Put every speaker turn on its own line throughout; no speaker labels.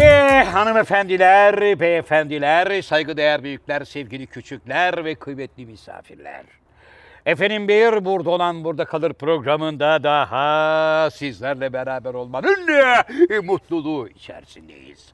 Eh, hanımefendiler, beyefendiler, saygıdeğer büyükler, sevgili küçükler ve kıymetli misafirler. Efendim bir burada olan burada kalır programında daha sizlerle beraber olmanın e, mutluluğu içerisindeyiz.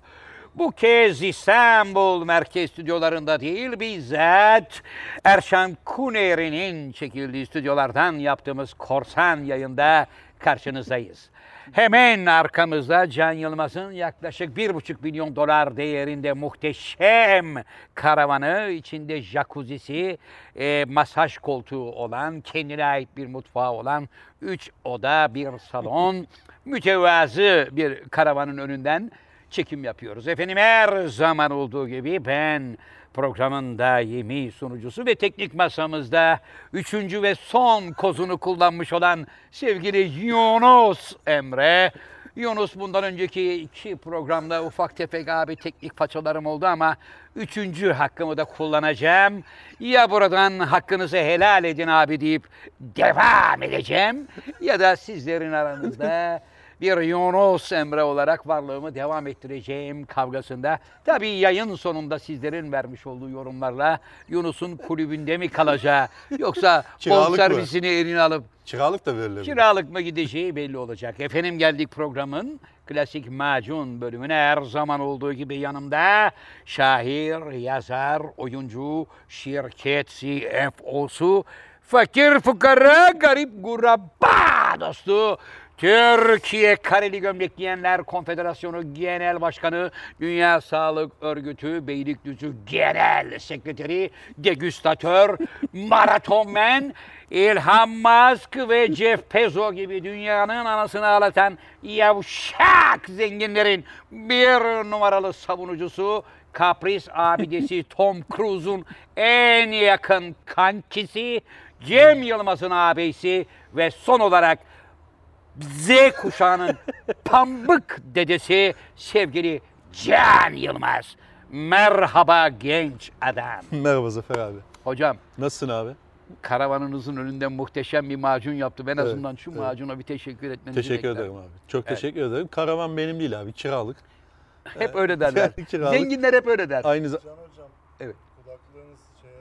Bu kez İstanbul merkez stüdyolarında değil bizzat Erşan Kuneri'nin çekildiği stüdyolardan yaptığımız korsan yayında karşınızdayız. Hemen arkamızda Can Yılmaz'ın yaklaşık 1,5 milyon dolar değerinde muhteşem karavanı, içinde jacuzzisi, e, masaj koltuğu olan, kendine ait bir mutfağı olan 3 oda, bir salon, mütevazı bir karavanın önünden çekim yapıyoruz. Efendim her zaman olduğu gibi ben programın daimi sunucusu ve teknik masamızda üçüncü ve son kozunu kullanmış olan sevgili Yunus Emre. Yunus bundan önceki iki programda ufak tefek abi teknik façalarım oldu ama üçüncü hakkımı da kullanacağım. Ya buradan hakkınızı helal edin abi deyip devam edeceğim ya da sizlerin aranızda bir Yunus Emre olarak varlığımı devam ettireceğim kavgasında. Tabii yayın sonunda sizlerin vermiş olduğu yorumlarla Yunus'un kulübünde mi kalacağı yoksa
Kiralık
bol
mı?
servisini eline alıp
Çıralık da verilir.
Kiralık mı gideceği belli olacak. Efendim geldik programın klasik macun bölümüne her zaman olduğu gibi yanımda şair, yazar, oyuncu, şirket CFO'su, fakir fukara, garip guraba dostu, Türkiye Kareli Gömlek Giyenler Konfederasyonu Genel Başkanı, Dünya Sağlık Örgütü Beylikdüzü Genel Sekreteri, degüstatör, maratonmen, İlhan Musk ve Jeff Bezos gibi dünyanın anasını ağlatan yavşak zenginlerin bir numaralı savunucusu, kapris abidesi Tom Cruise'un en yakın kankisi, Cem Yılmaz'ın abisi ve son olarak Z kuşağının pambık dedesi sevgili Can Yılmaz. Merhaba genç adam.
Merhaba Zafer abi.
Hocam
Nasılsın abi?
karavanınızın önünden muhteşem bir macun yaptım. En azından şu
evet.
macuna bir teşekkür etmenizi
Teşekkür
beklerim.
ederim abi. Çok teşekkür ederim. Karavan benim değil abi. Kiralık.
Hep öyle derler.
Yani kiralık.
Zenginler hep öyle der.
Aynı zamanda.
Can hocam.
Evet.
Kulaklığınız şeye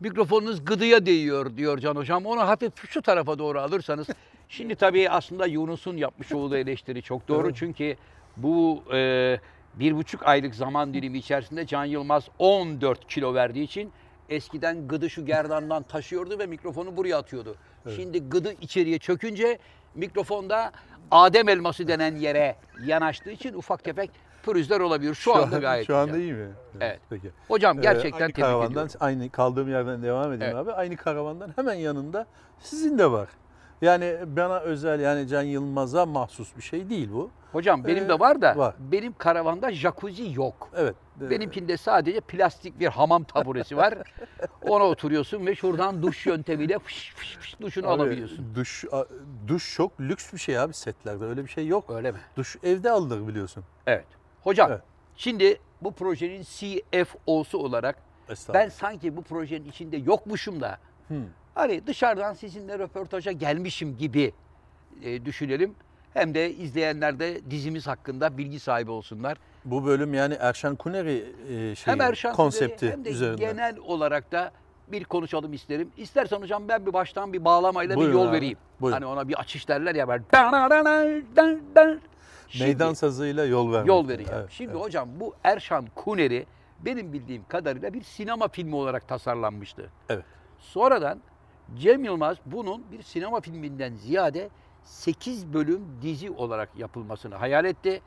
Mikrofonunuz gıdıya değiyor diyor Can Hocam. Onu hafif şu tarafa doğru alırsanız. Şimdi tabii aslında Yunus'un yapmış olduğu eleştiri çok doğru. Çünkü bu e, bir buçuk aylık zaman dilimi içerisinde Can Yılmaz 14 kilo verdiği için eskiden gıdı şu gerdandan taşıyordu ve mikrofonu buraya atıyordu. Şimdi gıdı içeriye çökünce mikrofonda Adem elması denen yere yanaştığı için ufak tefek pürüzler olabilir. Şu, anda
an-
gayet
Şu anda
güzel.
iyi mi?
Evet.
Peki.
Hocam
Ee,
gerçekten
aynı
tebrik
karavandan,
ediyorum.
Aynı kaldığım yerden devam edeyim abi. Aynı karavandan hemen yanında sizin de var. Yani bana özel yani Can Yılmaz'a mahsus bir şey değil bu.
Hocam benim
Ee,
de var da
var.
benim karavanda jacuzzi yok.
Evet. Ee,
Benimkinde sadece plastik bir hamam taburesi var. Ona oturuyorsun ve şuradan duş yöntemiyle fış fış fış duşunu
abi,
alabiliyorsun.
Duş, a- duş çok lüks bir şey abi setlerde. Öyle bir şey yok.
Öyle mi?
Duş evde alınır biliyorsun.
Evet. Hocam
Evet.
şimdi bu projenin CFO'su olarak ben
Estağfurullah.
sanki bu projenin içinde yokmuşum da
Hmm.
hani dışarıdan sizinle röportaja gelmişim gibi e, düşünelim. Hem de izleyenler de dizimiz hakkında bilgi sahibi olsunlar.
Bu bölüm yani Erşan Kuneri e, şeyi,
hem Erşan Kuneri
konsepti
hem de
üzerinden.
genel olarak da bir konuşalım isterim. İstersen hocam ben bir baştan bir bağlamayla bir
Buyurun
yol
abi,
vereyim.
buyurun.
Hani ona bir açış derler ya ben. dan, dan, dan, dan, dan. Şimdi
Meydan sazıyla yol vermek.
yol vereceğim.
Evet,
Şimdi
evet.
hocam bu Erşan Kuneri benim bildiğim kadarıyla bir sinema filmi olarak tasarlanmıştı.
Evet.
Sonradan Cem Yılmaz bunun bir sinema filminden ziyade 8 bölüm dizi olarak yapılmasını hayal etti.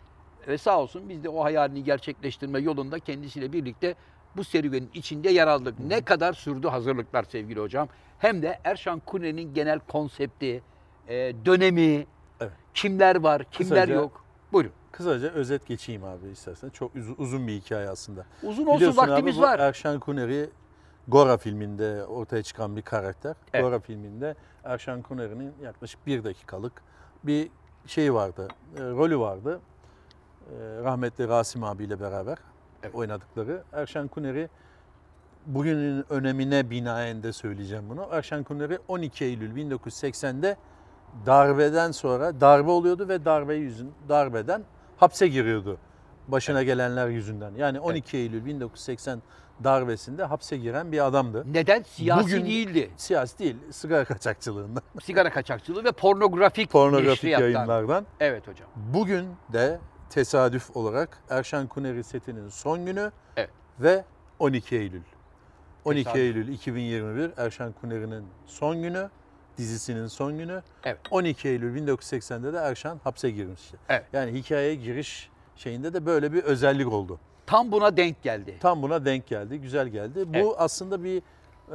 Ve sağ olsun biz de o hayalini gerçekleştirme yolunda kendisiyle birlikte bu serüvenin içinde yer aldık. Ne kadar sürdü hazırlıklar sevgili hocam. Hem de Erşan Kuneri'nin genel konsepti, e, dönemi,
Evet.
kimler var, kimler
Kısaca-
yok. Buyurun.
Kısaca özet geçeyim abi istersen. Çok uz- uzun bir hikaye aslında.
Uzun olsun
Biliyorsun abi
vaktimiz
bu er-
var.
Erşan Kuneri Gora filminde ortaya çıkan bir karakter.
Evet.
Gora filminde Erşan Kuneri'nin yaklaşık bir dakikalık bir şeyi vardı, e, rolü vardı. E, rahmetli Rasim abiyle beraber
Evet.
oynadıkları. Erşan Kuneri bugünün önemine binaen de söyleyeceğim bunu. Erşan Kuneri 12 Eylül 1980'de darbeden sonra darbe oluyordu ve darbe yüzün darbeden hapse giriyordu. başına gelenler yüzünden. Yani 12 Eylül 1980 darbesinde hapse giren bir adamdı.
Neden? Siyasi
Bugün-
değildi.
Siyasi değil, sigara kaçakçılığından,
Sigara kaçakçılığı ve pornografik,
pornografik
neşriyattan.
yayınlardan.
Evet hocam.
Bugün de tesadüf olarak Erşan Kuneri setinin son günü
Evet.
ve 12 Eylül. 12
Tesadüf.
Eylül 2021 Erşan Kuneri'nin son günü, dizisinin son günü.
Evet.
12 Eylül 1980'de de Erşan hapse girmişti.
Evet.
Yani hikayeye giriş şeyinde de böyle bir özellik oldu.
Tam buna denk geldi.
Tam buna denk geldi, güzel geldi. Bu
Evet.
aslında bir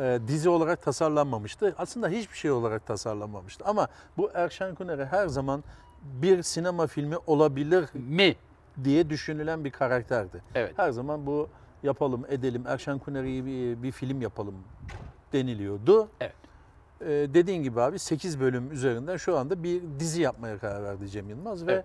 e, dizi olarak tasarlanmamıştı. Aslında hiçbir şey olarak tasarlanmamıştı. Ama bu Erşan Kuneri her zaman bir sinema filmi olabilir
Mi?
diye düşünülen bir karakterdi.
Evet.
Her zaman bu yapalım, edelim, Erşen Kuneri'yi bir, bir film yapalım deniliyordu.
Evet.
Ee, dediğin gibi abi 8 bölüm üzerinden şu anda bir dizi yapmaya karar verdi Cem Yılmaz ve
Evet.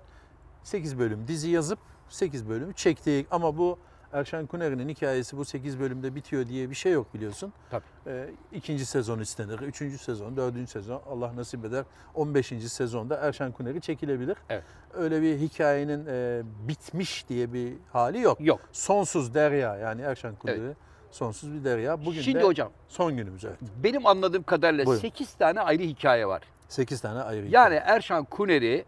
8 bölüm dizi yazıp 8 bölümü çektik. Ama bu Erşen Kuneri'nin hikayesi bu 8 bölümde bitiyor diye bir şey yok biliyorsun.
Tabii.
Ee, ikinci sezon istenir, üçüncü sezon, dördüncü sezon Allah nasip eder 15. sezonda Erşen Kuneri çekilebilir.
Evet.
Öyle bir hikayenin e, bitmiş diye bir hali yok.
Yok.
Sonsuz derya yani Erşen Kuneri
Evet.
sonsuz bir derya. Bugün
Şimdi
de
hocam
son günümüz evet.
benim anladığım kadarıyla
Buyurun.
8 tane ayrı hikaye var.
8 tane ayrı hikaye.
Yani Erşan Kuneri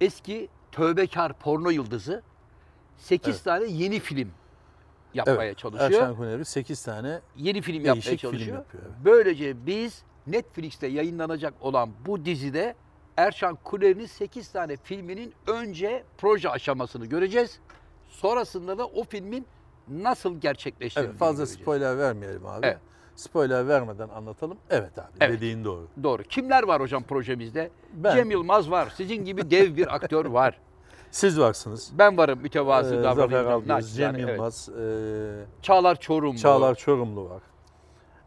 eski tövbekar porno yıldızı 8
Evet.
tane yeni film yapmaya
Evet,
çalışıyor.
Erşan Kuneri 8 tane
Yeni film
Değişik
yapmaya
film
çalışıyor.
yapıyor, evet.
Böylece biz Netflix'te yayınlanacak olan bu dizide Erşan Kuneri'nin 8 tane filminin önce proje aşamasını göreceğiz. Sonrasında da o filmin nasıl gerçekleştiğini
Evet, fazla
göreceğiz.
spoiler vermeyelim abi.
Evet.
Spoiler vermeden anlatalım. Evet abi
Evet.
dediğin doğru.
Doğru. Kimler var hocam projemizde?
Ben.
Cem Yılmaz var. Sizin gibi dev bir aktör var.
Siz varsınız.
Ben varım
Ee,
mütevazı davranayım.
Zafer Algöz,
Naçizane,
Cem
evet.
Yılmaz, ee,
Çağlar Çorumlu.
Çağlar Çorumlu var.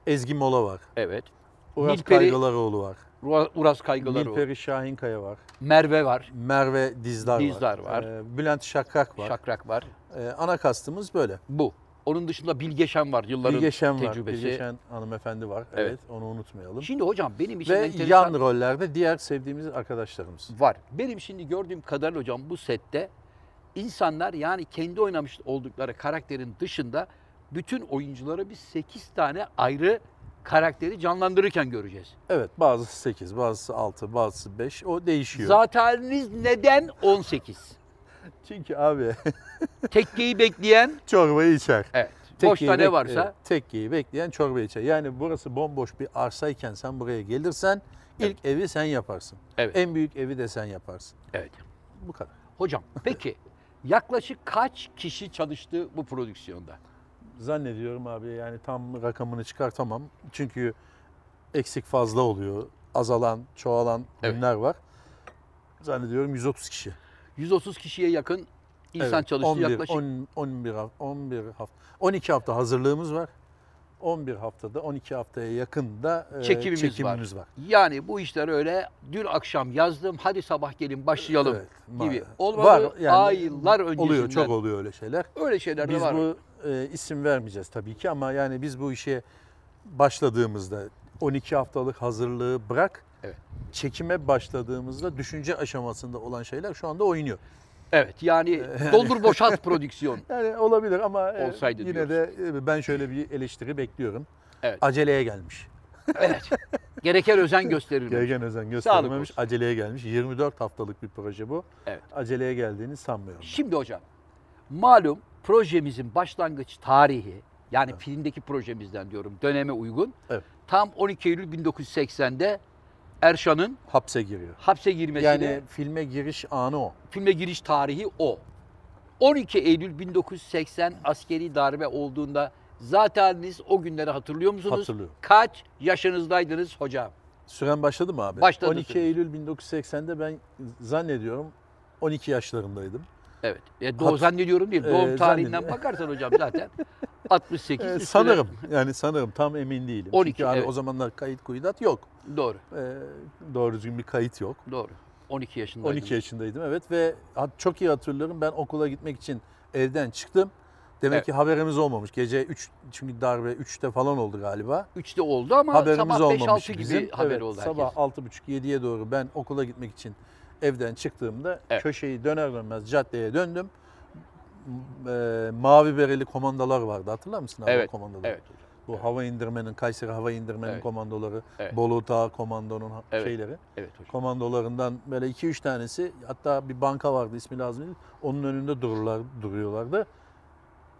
Ezgi Mola var.
Evet.
Uras
Nilperi-
Kaygılaroğlu var.
Ura- Uras Kaygılaroğlu.
Nilperi Şahinkaya var.
Merve var.
Merve Dizdar,
Dizdar var.
Ee, Bülent Şakrak var.
Şakrak var.
Ee, ana kastımız böyle.
Bu. Onun dışında Bilge Şen var. Yılların
Bilge Şen var.
tecrübesi.
Bilge Şen hanımefendi var. Evet.
Evet.
onu unutmayalım.
Şimdi hocam benim için
Ve
enteresan
yan rollerde diğer sevdiğimiz arkadaşlarımız.
var. Benim şimdi gördüğüm kadarıyla hocam bu sette insanlar yani kendi oynamış oldukları karakterin dışında bütün oyunculara biz 8 tane ayrı karakteri canlandırırken göreceğiz.
Evet bazısı 8, bazısı 6, bazısı 5. O değişiyor.
Zateniniz neden 18?
Çünkü abi
Tekkeyi bekleyen
çorbayı içer.
evet.
Tekkeyi
Boşta ne
bek-
varsa
evet, tekkeyi bekleyen çorba içer. Yani burası bomboş bir arsayken sen buraya gelirsen ilk evi sen yaparsın.
Evet.
En büyük evi de sen yaparsın.
evet.
Bu kadar.
Hocam peki yaklaşık kaç kişi çalıştı bu prodüksiyonda?
Zannediyorum abi yani tam rakamını çıkartamam. Çünkü eksik fazla oluyor. Azalan, çoğalan
Evet.
günler var. Zannediyorum 130 kişi.
130 kişiye yakın insan
Evet,
çalıştı
11,
yaklaşık.
10, 11 hafta, 11 hafta, 12 hafta hazırlığımız var. 11 haftada, 12 haftaya yakın da e,
Çekimimiz var.
çekimimiz var.
Yani bu işler öyle dün akşam yazdım hadi sabah gelin başlayalım
Evet,
gibi.
maalesef.
Olmadı aylar öncesinden.
Oluyor, çok oluyor öyle şeyler.
Öyle şeyler de
Biz
var.
bu e, isim vermeyeceğiz tabii ki ama yani biz bu işe başladığımızda 12 haftalık hazırlığı bırak,
Evet.
çekime başladığımızda düşünce aşamasında olan şeyler şu anda oynuyor.
Evet yani doldur boşalt prodüksiyon.
Yani olabilir ama e,
Olsaydı
yine de e, ben şöyle bir eleştiri bekliyorum.
Evet.
Aceleye gelmiş.
Evet. Gereken özen gösterilmiş.
Gergen özen göstermemiş,
olsun.
aceleye gelmiş. 24 haftalık bir proje bu.
Evet.
Aceleye geldiğini sanmıyorum.
Şimdi hocam malum projemizin başlangıç tarihi yani filmdeki projemizden diyorum döneme uygun.
Evet.
Tam 12 Eylül 1980'de Erşan'ın
Hapse giriyor.
hapse girmesine
Yani filme giriş anı o.
filme giriş tarihi o. 12 Eylül 1980 askeri darbe olduğunda zaten siz o günleri hatırlıyor musunuz?
Hatırlıyorum.
Kaç yaşınızdaydınız hocam?
Süren başladı mı abi?
Başladı
12
süren.
Eylül 1980'de ben zannediyorum 12 yaşlarındaydım.
Evet. E, doğ, zannediyorum değil. Doğum
Ee,
tarihinden
zannediyorum.
bakarsan hocam zaten 68
Ee,
üstüne-
sanırım yani sanırım tam emin değilim.
12,
Çünkü hani
evet.
o zamanlar kayıt kuyudat yok.
Doğru.
Ee, doğru düzgün bir kayıt yok.
Doğru. 12 yaşındaydım.
12 yaşındaydım evet ve hat- çok iyi hatırlıyorum ben okula gitmek için evden çıktım. Demek
Evet.
ki haberimiz olmamış. Gece 3 çünkü darbe 3'te falan oldu galiba.
3'te oldu ama
haberimiz
sabah
olmamış
5-6 gibi
bizim.
haber
Evet,
oldu herkes.
Sabah 6.30-7'ye doğru ben okula gitmek için evden çıktığımda
Evet.
köşeyi döner dönmez caddeye döndüm. e, mavi bereli komandolar vardı hatırlar mısın? hava
Evet,
komandoları?
evet.
Bu hava indirmenin, Kayseri hava indirmenin
Evet.
komandoları,
Evet.
Bolu Dağ komandonun ha-
Evet.
şeyleri.
Evet hocam.
Komandolarından böyle iki üç tanesi hatta bir banka vardı ismi lazım değil. Onun önünde dururlar, duruyorlardı.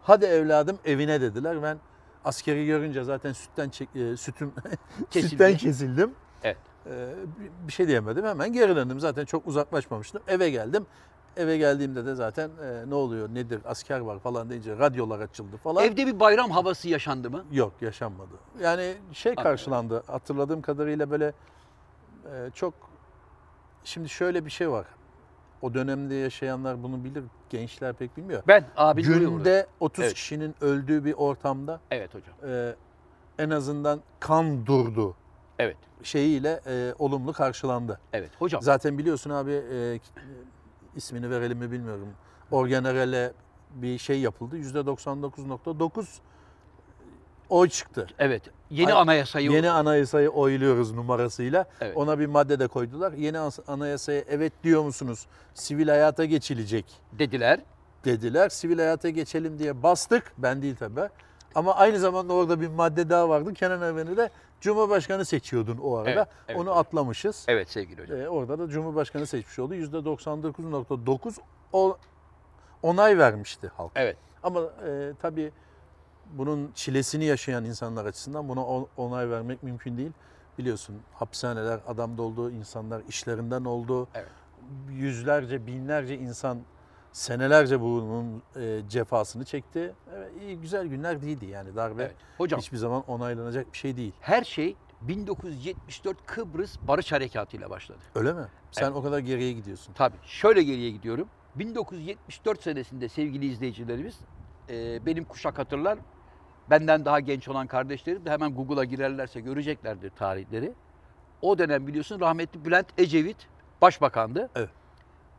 Hadi evladım evine dediler. Ben askeri görünce zaten sütten çek, e, sütüm
Kesildi.
sütten kesildim.
Evet.
Ee, bir- bir şey diyemedim. Hemen geri döndüm. Zaten çok uzaklaşmamıştım. Eve geldim. Eve geldiğimde de zaten e, ne oluyor nedir asker var falan deyince radyolar açıldı falan.
Evde bir bayram havası yaşandı mı?
Yok yaşanmadı. Yani şey karşılandı hatırladığım kadarıyla böyle e, çok şimdi şöyle bir şey var. O dönemde yaşayanlar bunu bilir, gençler pek bilmiyor.
Ben
Abi
Günde 30
Evet.
kişinin öldüğü bir ortamda
evet hocam.
e, en azından kan durdu
Evet.
şeyiyle e, olumlu karşılandı.
Evet hocam.
Zaten biliyorsun abi e, ismini verelim mi bilmiyorum. Orgeneral'e bir şey yapıldı. %99.9 oy çıktı.
Evet. Yeni
Ay-
anayasayı
Yeni anayasayı oyluyoruz numarasıyla.
Evet.
Ona bir madde de koydular. Yeni as- anayasaya evet diyor musunuz? Sivil hayata geçilecek
dediler.
dediler. Sivil hayata geçelim diye bastık. Ben değil tabii. Ama aynı zamanda orada bir madde daha vardı. Kenan Evren'i de Cumhurbaşkanı seçiyordun o arada.
Evet, evet,
Onu
evet.
atlamışız.
Evet sevgili hocam.
Ee, orada da Cumhurbaşkanı seçmiş oldu. %99.9 o- onay vermişti halk.
Evet.
Ama e, tabii bunun çilesini yaşayan insanlar açısından buna on- onay vermek mümkün değil. Biliyorsun hapishaneler adam doldu, insanlar işlerinden oldu.
Evet.
Yüzlerce, binlerce insan senelerce bunun e, cefasını çekti. Evet, iyi güzel günler değildi yani darbe
Evet. Hocam
hiçbir zaman onaylanacak bir şey değil.
her şey 1974 Kıbrıs Barış Harekatı ile başladı.
Öyle mi? Sen o kadar geriye gidiyorsun.
Tabii. Şöyle geriye gidiyorum. 1974 senesinde sevgili izleyicilerimiz, e, benim kuşak hatırlar, benden daha genç olan kardeşlerim de hemen Google'a girerlerse göreceklerdir tarihleri. O dönem biliyorsun rahmetli Bülent Ecevit başbakandı.
Evet.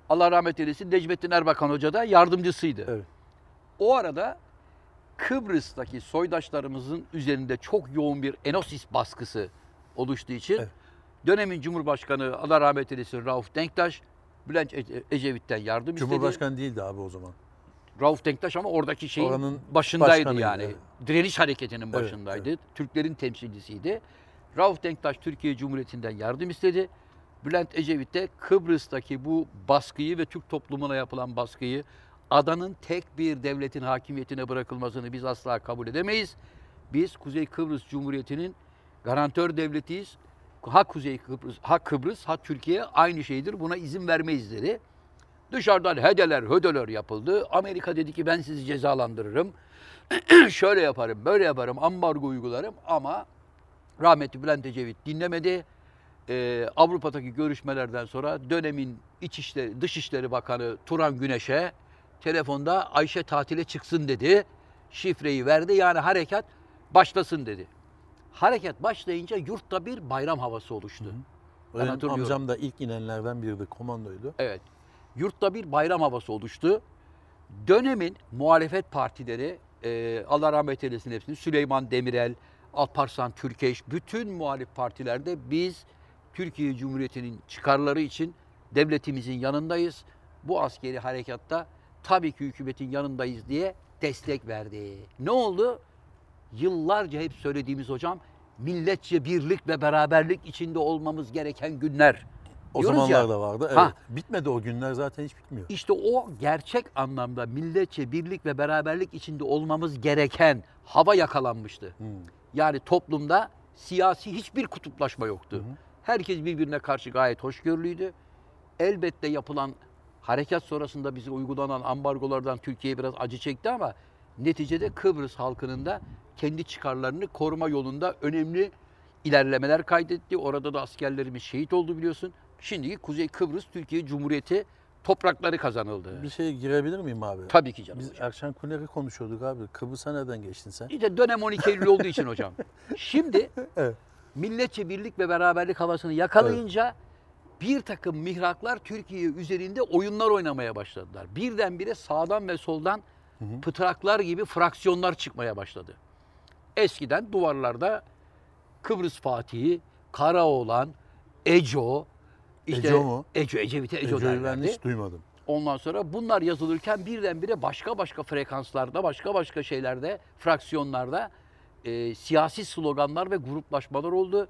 Allah rahmet eylesin Necmettin Erbakan Hoca da yardımcısıydı.
Evet.
O arada Kıbrıs'taki soydaşlarımızın üzerinde çok yoğun bir enosis baskısı oluştuğu için
Evet.
dönemin Cumhurbaşkanı Allah rahmet eylesin Rauf Denktaş Bülent Ece- Ecevit'ten yardım istedi.
Cumhurbaşkanı değildi abi o zaman.
Rauf Denktaş ama oradaki şeyin
Oranın
başındaydı
başkanıydı,
yani.
evet.
Direniş hareketinin
Evet,
başındaydı. Türklerin temsilcisiydi. Rauf Denktaş Türkiye Cumhuriyeti'nden yardım istedi. Bülent Ecevit de Kıbrıs'taki bu baskıyı ve Türk toplumuna yapılan baskıyı adanın tek bir devletin hakimiyetine bırakılmasını biz asla kabul edemeyiz. Biz Kuzey Kıbrıs Cumhuriyeti'nin garantör devletiyiz. Ha Kuzey Kıbrıs, ha Kıbrıs, ha Türkiye aynı şeydir. Buna izin vermeyiz dedi. Dışarıdan hedeler hödeler yapıldı. Amerika dedi ki ben sizi cezalandırırım. Şöyle yaparım, böyle yaparım, ambargo uygularım ama rahmetli Bülent Ecevit dinlemedi. Ee, Avrupa'daki görüşmelerden sonra dönemin İçişleri, Dışişleri Bakanı Turan Güneş'e telefonda Ayşe tatile çıksın dedi. Şifreyi verdi yani harekat başlasın dedi. Harekat başlayınca yurtta bir bayram havası oluştu.
Benim
hatırlıyorum.
amcam da ilk inenlerden biriydi, komandoydu.
Evet. Yurtta bir bayram havası oluştu. Dönemin muhalefet partileri, e, Allah rahmet eylesin hepsini, Süleyman Demirel, Alparslan Türkeş, bütün muhalif partilerde biz Türkiye Cumhuriyeti'nin çıkarları için devletimizin yanındayız. Bu askeri harekatta tabii ki hükümetin yanındayız diye destek verdi. Ne oldu? Yıllarca hep söylediğimiz hocam, milletçe birlik ve beraberlik içinde olmamız gereken günler.
O
Diyoruz ya.
zamanlar da vardı. Evet.
Ha.
Bitmedi o günler zaten hiç bitmiyor.
İşte o gerçek anlamda milletçe birlik ve beraberlik içinde olmamız gereken hava yakalanmıştı.
Hmm.
Yani toplumda siyasi hiçbir kutuplaşma yoktu. Herkes birbirine karşı gayet hoşgörülüydü. Elbette yapılan harekat sonrasında bize uygulanan ambargolardan Türkiye biraz acı çekti ama neticede Kıbrıs halkının da kendi çıkarlarını koruma yolunda önemli ilerlemeler kaydetti. Orada da askerlerimiz şehit oldu biliyorsun. Şimdiki Kuzey Kıbrıs Türkiye Cumhuriyeti toprakları kazanıldı.
Bir şey girebilir miyim abi?
Tabii ki canım.
Biz
hocam.
Erşen Kuner'i konuşuyorduk abi. Kıbrıs'a nereden geçtin sen?
İşte dönem 12 Eylül olduğu için hocam. Şimdi
Evet.
milletçe birlik ve beraberlik havasını yakalayınca bir takım mihraklar Türkiye üzerinde oyunlar oynamaya başladılar. Birdenbire sağdan ve soldan pıtraklar gibi fraksiyonlar çıkmaya başladı. Eskiden duvarlarda Kıbrıs Fatihi, Karaoğlan, Eco, işte
Eco mu?
Eco, Ecevit'e Eco
Eco'yu E, ben
derlerdi.
hiç duymadım.
Ondan sonra bunlar yazılırken birdenbire başka başka frekanslarda, başka başka şeylerde, fraksiyonlarda e, siyasi sloganlar ve gruplaşmalar oldu.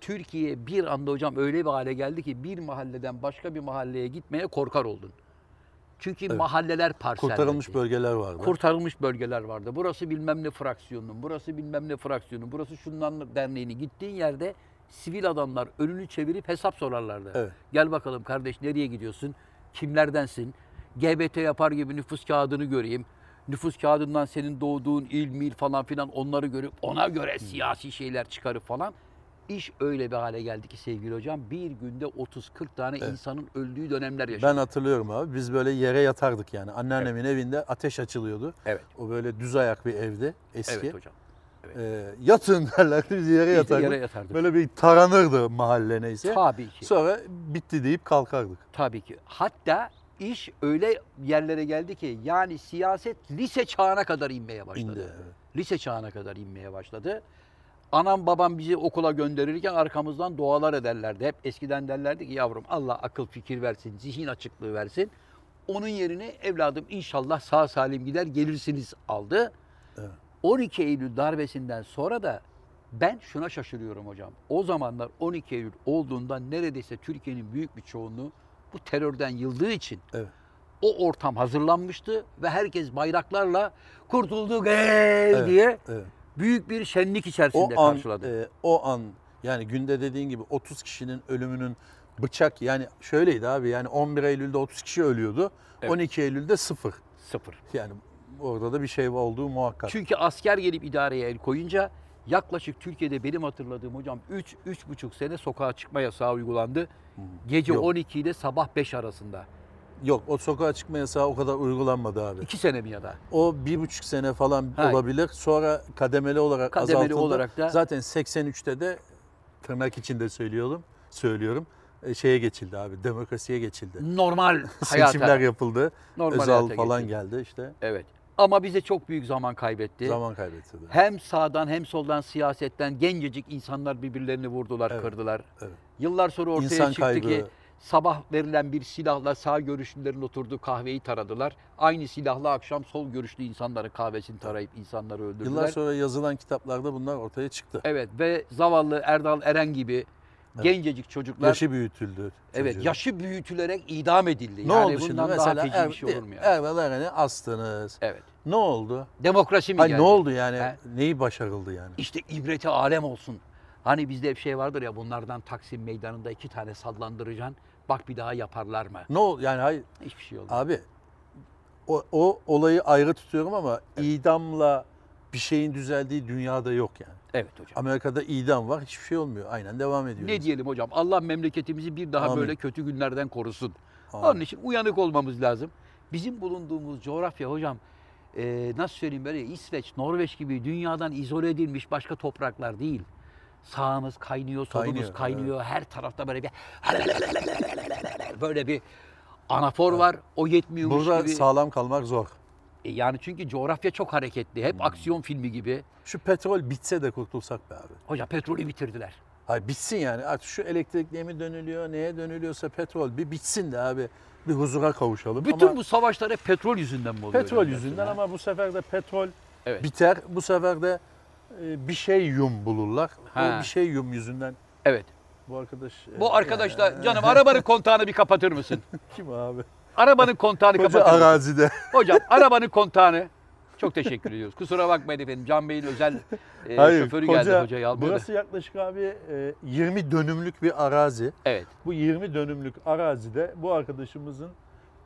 Türkiye bir anda hocam öyle bir hale geldi ki bir mahalleden başka bir mahalleye gitmeye korkar oldun. Çünkü mahalleler parsellendi.
Kurtarılmış bölgeler vardı.
Kurtarılmış bölgeler vardı. Burası bilmem ne fraksiyonunun, burası bilmem ne fraksiyonunun, burası şundan derneğini. Gittiğin yerde sivil adamlar önünü çevirip hesap sorarlardı.
Evet.
Gel bakalım kardeş nereye gidiyorsun? Kimlerdensin? GBT yapar gibi nüfus kağıdını göreyim. Nüfus kağıdından senin doğduğun il, mil falan filan onları görüp ona göre siyasi şeyler çıkarıp falan. İş öyle bir hale geldi ki sevgili hocam bir günde 30-40 tane insanın öldüğü dönemler yaşadık.
Ben hatırlıyorum abi. Biz böyle yere yatardık yani. Anneannemin evinde ateş açılıyordu.
Evet.
O böyle düz ayak bir evdi eski.
Evet hocam.
Ee, yatın derlerdi biz yere
Biz de
yatardık.
yere yatardık.
Böyle bir taranırdı mahalle neyse.
Tabii ki.
Sonra bitti deyip kalkardık.
Tabii ki. Hatta iş öyle yerlere geldi ki yani siyaset lise çağına kadar inmeye başladı.
İndi, evet.
Lise çağına kadar inmeye başladı. Anam babam bizi okula gönderirken arkamızdan dualar ederlerdi. Hep eskiden derlerdi ki yavrum Allah akıl fikir versin, zihin açıklığı versin. Onun yerine evladım inşallah sağ salim gider gelirsiniz aldı. 12 Eylül darbesinden sonra da ben şuna şaşırıyorum hocam. O zamanlar 12 Eylül olduğunda neredeyse Türkiye'nin büyük bir çoğunluğu bu terörden yıldığı için
Evet.
o ortam hazırlanmıştı ve herkes bayraklarla kurtulduk ey diye
Evet.
büyük bir şenlik içerisinde
O an,
karşıladı.
e, o an yani günde dediğin gibi 30 kişinin ölümünün bıçak yani şöyleydi abi yani 11 Eylül'de 30 kişi ölüyordu. 12 Eylül'de sıfır.
Sıfır.
Yani orada da bir şey olduğu muhakkak.
Çünkü asker gelip idareye el koyunca yaklaşık Türkiye'de benim hatırladığım hocam 3 buçuk sene sokağa çıkma yasağı uygulandı. Gece
Yok.
12 ile sabah 5 arasında.
Yok o sokağa çıkma yasağı o kadar uygulanmadı abi.
2 sene mi ya da?
O bir buçuk sene falan
Ha.
olabilir. Sonra kademeli olarak
Kademeli
azaltıldı.
olarak da-
Zaten 83'te de tırnak içinde söylüyorum. Söylüyorum. e, Şeye geçildi abi. Demokrasiye geçildi.
normal hayata.
Seçimler yapıldı.
Normal
Özal
hayata
falan
geçildi.
geldi işte.
Evet. Ama bize çok büyük zaman kaybetti.
Zaman kaybettirdi.
Hem sağdan hem soldan siyasetten gencecik insanlar birbirlerini vurdular,
Evet,
kırdılar.
evet.
Yıllar sonra ortaya
İnsan
çıktı
kaybı.
ki sabah verilen bir silahla sağ görüşlülerin oturduğu kahveyi taradılar. Aynı silahla akşam sol görüşlü insanların kahvesini tarayıp insanları öldürdüler.
Yıllar sonra yazılan kitaplarda bunlar ortaya çıktı.
Evet ve zavallı Erdal Eren gibi gencecik çocuklar
Yaşı büyütüldü.
evet
çocuğun.
yaşı büyütülerek idam edildi.
ne
yani
oldu şimdi
bundan
mesela
daha feci
Er-
bir şey olur mu yani?
Ervel Eren'i astınız.
Evet.
Ne oldu?
Demokrasi mi
Hani
geldi?
ne oldu yani?
He?
Neyi başarıldı yani?
İşte ibreti alem olsun. Hani bizde hep şey vardır ya bunlardan Taksim Meydanı'nda iki tane sallandıracaksın. Bak bir daha yaparlar mı?
Ne oldu? Yani hayır
Hiçbir şey olmaz.
Abi o, o olayı ayrı tutuyorum ama idamla bir şeyin düzeldiği dünyada yok yani.
Evet hocam.
Amerika'da idam var hiçbir şey olmuyor. Aynen devam ediyor.
Ne diyelim hocam? Allah memleketimizi bir daha
Amin.
böyle kötü günlerden korusun.
Amin.
Onun için uyanık olmamız lazım. Bizim bulunduğumuz coğrafya hocam e, nasıl söyleyeyim böyle İsveç, Norveç gibi dünyadan izole edilmiş başka topraklar değil. Sağımız kaynıyor, solumuz
Kaynıyor,
kaynıyor. Her tarafta böyle bir böyle bir anafor var. O yetmiyormuş
Burada
gibi.
sağlam kalmak zor.
E Yani çünkü coğrafya çok hareketli.
Hmm.
Hep aksiyon filmi gibi.
Şu petrol bitse de kurtulsak be abi.
Hoca petrolü bitirdiler.
Hayır bitsin yani artık şu elektrikliğe mi dönülüyor neye dönülüyorsa petrol bir bitsin de abi bir huzura kavuşalım.
Bütün
ama
bu savaşlar hep petrol yüzünden mi oluyor?
petrol
hocam
yüzünden
diyorsun ha?
ama bu sefer de petrol
Evet.
biter. Bu sefer de e, bir şey yum bulurlar.
Ha.
O bir şey yum yüzünden
Evet.
bu arkadaş. e,
Bu arkadaşlar
yani-
canım arabanın kontağını bir kapatır mısın?
Kim abi?
Arabanın kontağını
Koca
kapatır mısın?
arazide.
Hocam arabanın kontağını. Çok teşekkür ediyoruz. Kusura bakmayın efendim. Can Bey'in özel e, şoförü geldi hocayı almaya. da.
Burası yaklaşık abi e, 20 dönümlük bir arazi.
Evet.
Bu 20 dönümlük arazide bu arkadaşımızın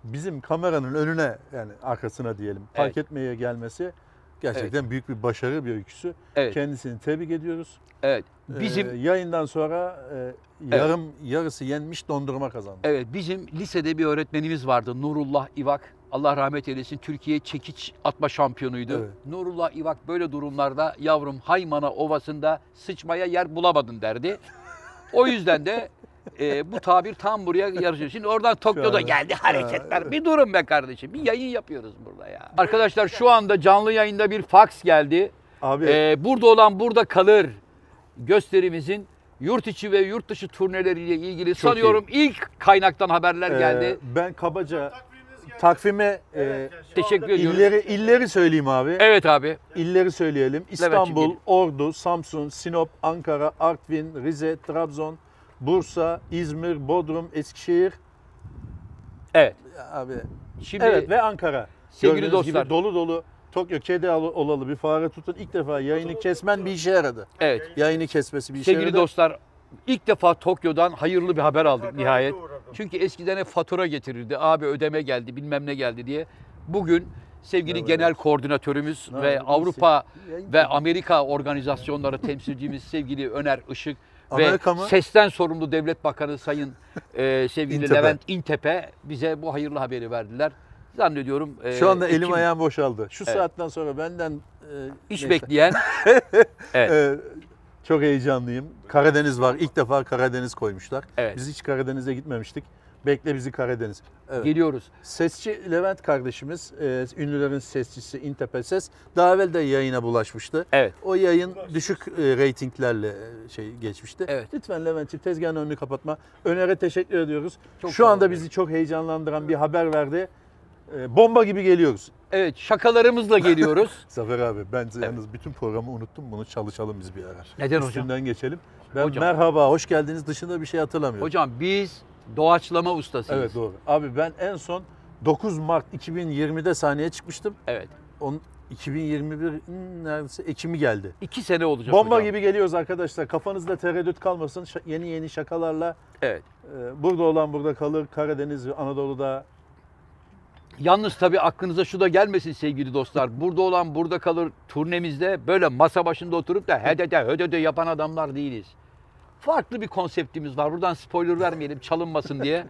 bizim kameranın önüne yani arkasına diyelim park
Evet.
etmeye gelmesi gerçekten büyük bir başarı bir öyküsü.
Evet.
Kendisini tebrik ediyoruz.
Evet.
E,
Bizim
yayından sonra e, yarım yarısı yenmiş dondurma kazandı.
Evet bizim lisede bir öğretmenimiz vardı Nurullah İvak. Allah rahmet eylesin Türkiye çekiç atma şampiyonuydu.
Evet.
Nurullah İvak böyle durumlarda yavrum Haymana Ovası'nda sıçmaya yer bulamadın derdi. O yüzden de e, bu tabir tam buraya yarışıyor. Şimdi oradan Tokyo'da
anda.
geldi hareketler. Bir durun be kardeşim. Bir yayın yapıyoruz burada ya. Arkadaşlar şu anda canlı yayında bir fax geldi.
Abi
Ee, burada olan burada kalır gösterimizin yurt içi ve yurt dışı turneleriyle ilgili sanıyorum ilk kaynaktan haberler
e,
geldi.
ben kabaca takvime e,
Teşekkür ediyoruz.
illeri illeri söyleyeyim abi.
Evet abi.
İlleri söyleyelim. İstanbul,
gelin.
Ordu, Samsun, Sinop, Ankara, Artvin, Rize, Trabzon, Bursa, İzmir, Bodrum, Eskişehir
Evet.
abi.
Şimdi
evet ve Ankara.
Sevgili
Gördüğünüz
dostlar.
gibi dolu dolu Tokyo kedi al- olalı bir fare tutun. İlk defa yayını kesmen bir işe yaradı.
evet.
Yayını kesmesi bir işe
Sevgili
yaradı.
dostlar, ilk defa Tokyo'dan hayırlı bir haber aldık
Hakarete
nihayet.
uğradım.
Çünkü eskiden hep fatura getirirdi. Abi ödeme geldi, bilmem ne geldi diye. Bugün sevgili
Evet.
genel koordinatörümüz
Ne
ve
yaptın?
Avrupa
Yayın-
ve Amerika organizasyonları temsilcimiz sevgili Öner Işık
Amerika
ve
mı?
sesten sorumlu Devlet Bakanı Sayın e, sevgili
İntepe.
Levent İntepe bize bu hayırlı haberi verdiler. Zannediyorum e,
Şu anda elim
Ekim-
ayağım boşaldı. Şu
Evet.
saatten sonra benden e,
iş
neyse.
bekleyen
E, çok heyecanlıyım. Karadeniz var. İlk defa Karadeniz koymuşlar.
Evet.
Biz hiç Karadeniz'e gitmemiştik. Bekle bizi Karadeniz. Evet.
geliyoruz.
Sesçi Levent kardeşimiz, e, ünlülerin sesçisi İntepe Ses daha evvel de yayına bulaşmıştı.
Evet.
O yayın düşük e, reytinglerle e, şey geçmişti.
Evet.
Lütfen Levent'ciğim tezgahın önünü kapatma. Öner'e teşekkür ediyoruz.
Çok
Şu
sağ
anda
olun.
bizi çok heyecanlandıran bir haber verdi. E, bomba gibi geliyoruz.
Evet, şakalarımızla geliyoruz.
Zafer abi ben yalnız bütün programı unuttum. Bunu çalışalım biz bir ara.
Neden hocam?
Üstünden geçelim. Ben
Hocam.
merhaba, hoş geldiniz dışında bir şey hatırlamıyorum.
Hocam biz doğaçlama ustasıyız.
Evet doğru. Abi ben en son 9 Mart 2020'de sahneye çıkmıştım.
Evet.
On 2021'in neredeyse Ekim'i geldi.
İki sene olacak
Bomba
hocam.
gibi geliyoruz arkadaşlar. Kafanızda tereddüt kalmasın. Ş- yeni yeni şakalarla
Evet.
e, burada olan burada kalır. Karadeniz ve Anadolu'da
Yalnız tabii aklınıza şu da gelmesin sevgili dostlar. Burada olan burada kalır turnemizde böyle masa başında oturup da hedede hödede yapan adamlar değiliz. Farklı bir konseptimiz var. Buradan spoiler vermeyelim çalınmasın diye.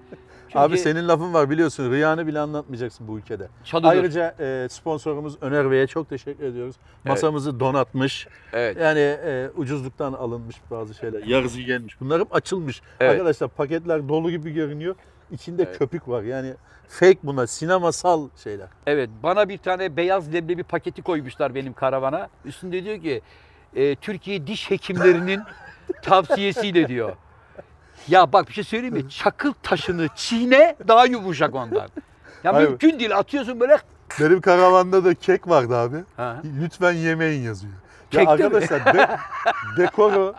Çünkü
Abi senin lafın var biliyorsun. Riyanı bile anlatmayacaksın bu ülkede.
Çalıdır.
Ayrıca e, sponsorumuz Öner Bey'e çok teşekkür ediyoruz. Masamızı donatmış.
Evet.
Yani e, ucuzluktan alınmış bazı şeyler. Yarısı gelmiş. Bunlar hep açılmış.
Evet.
Arkadaşlar paketler dolu gibi görünüyor. İçinde
Evet.
köpük var. Yani fake bunlar. Sinemasal şeyler.
Evet bana bir tane beyaz leblebi paketi koymuşlar benim karavana. Üstünde diyor ki e, Türkiye diş hekimlerinin tavsiyesiyle diyor. Ya bak bir şey söyleyeyim mi? Çakıl taşını çiğne daha yumuşak ondan. Ya
Hayır.
mümkün değil atıyorsun böyle.
Benim karavanda da kek vardı abi.
Ha.
Lütfen yemeyin yazıyor.
Kekte
ya
mi?
arkadaşlar de- dekoru,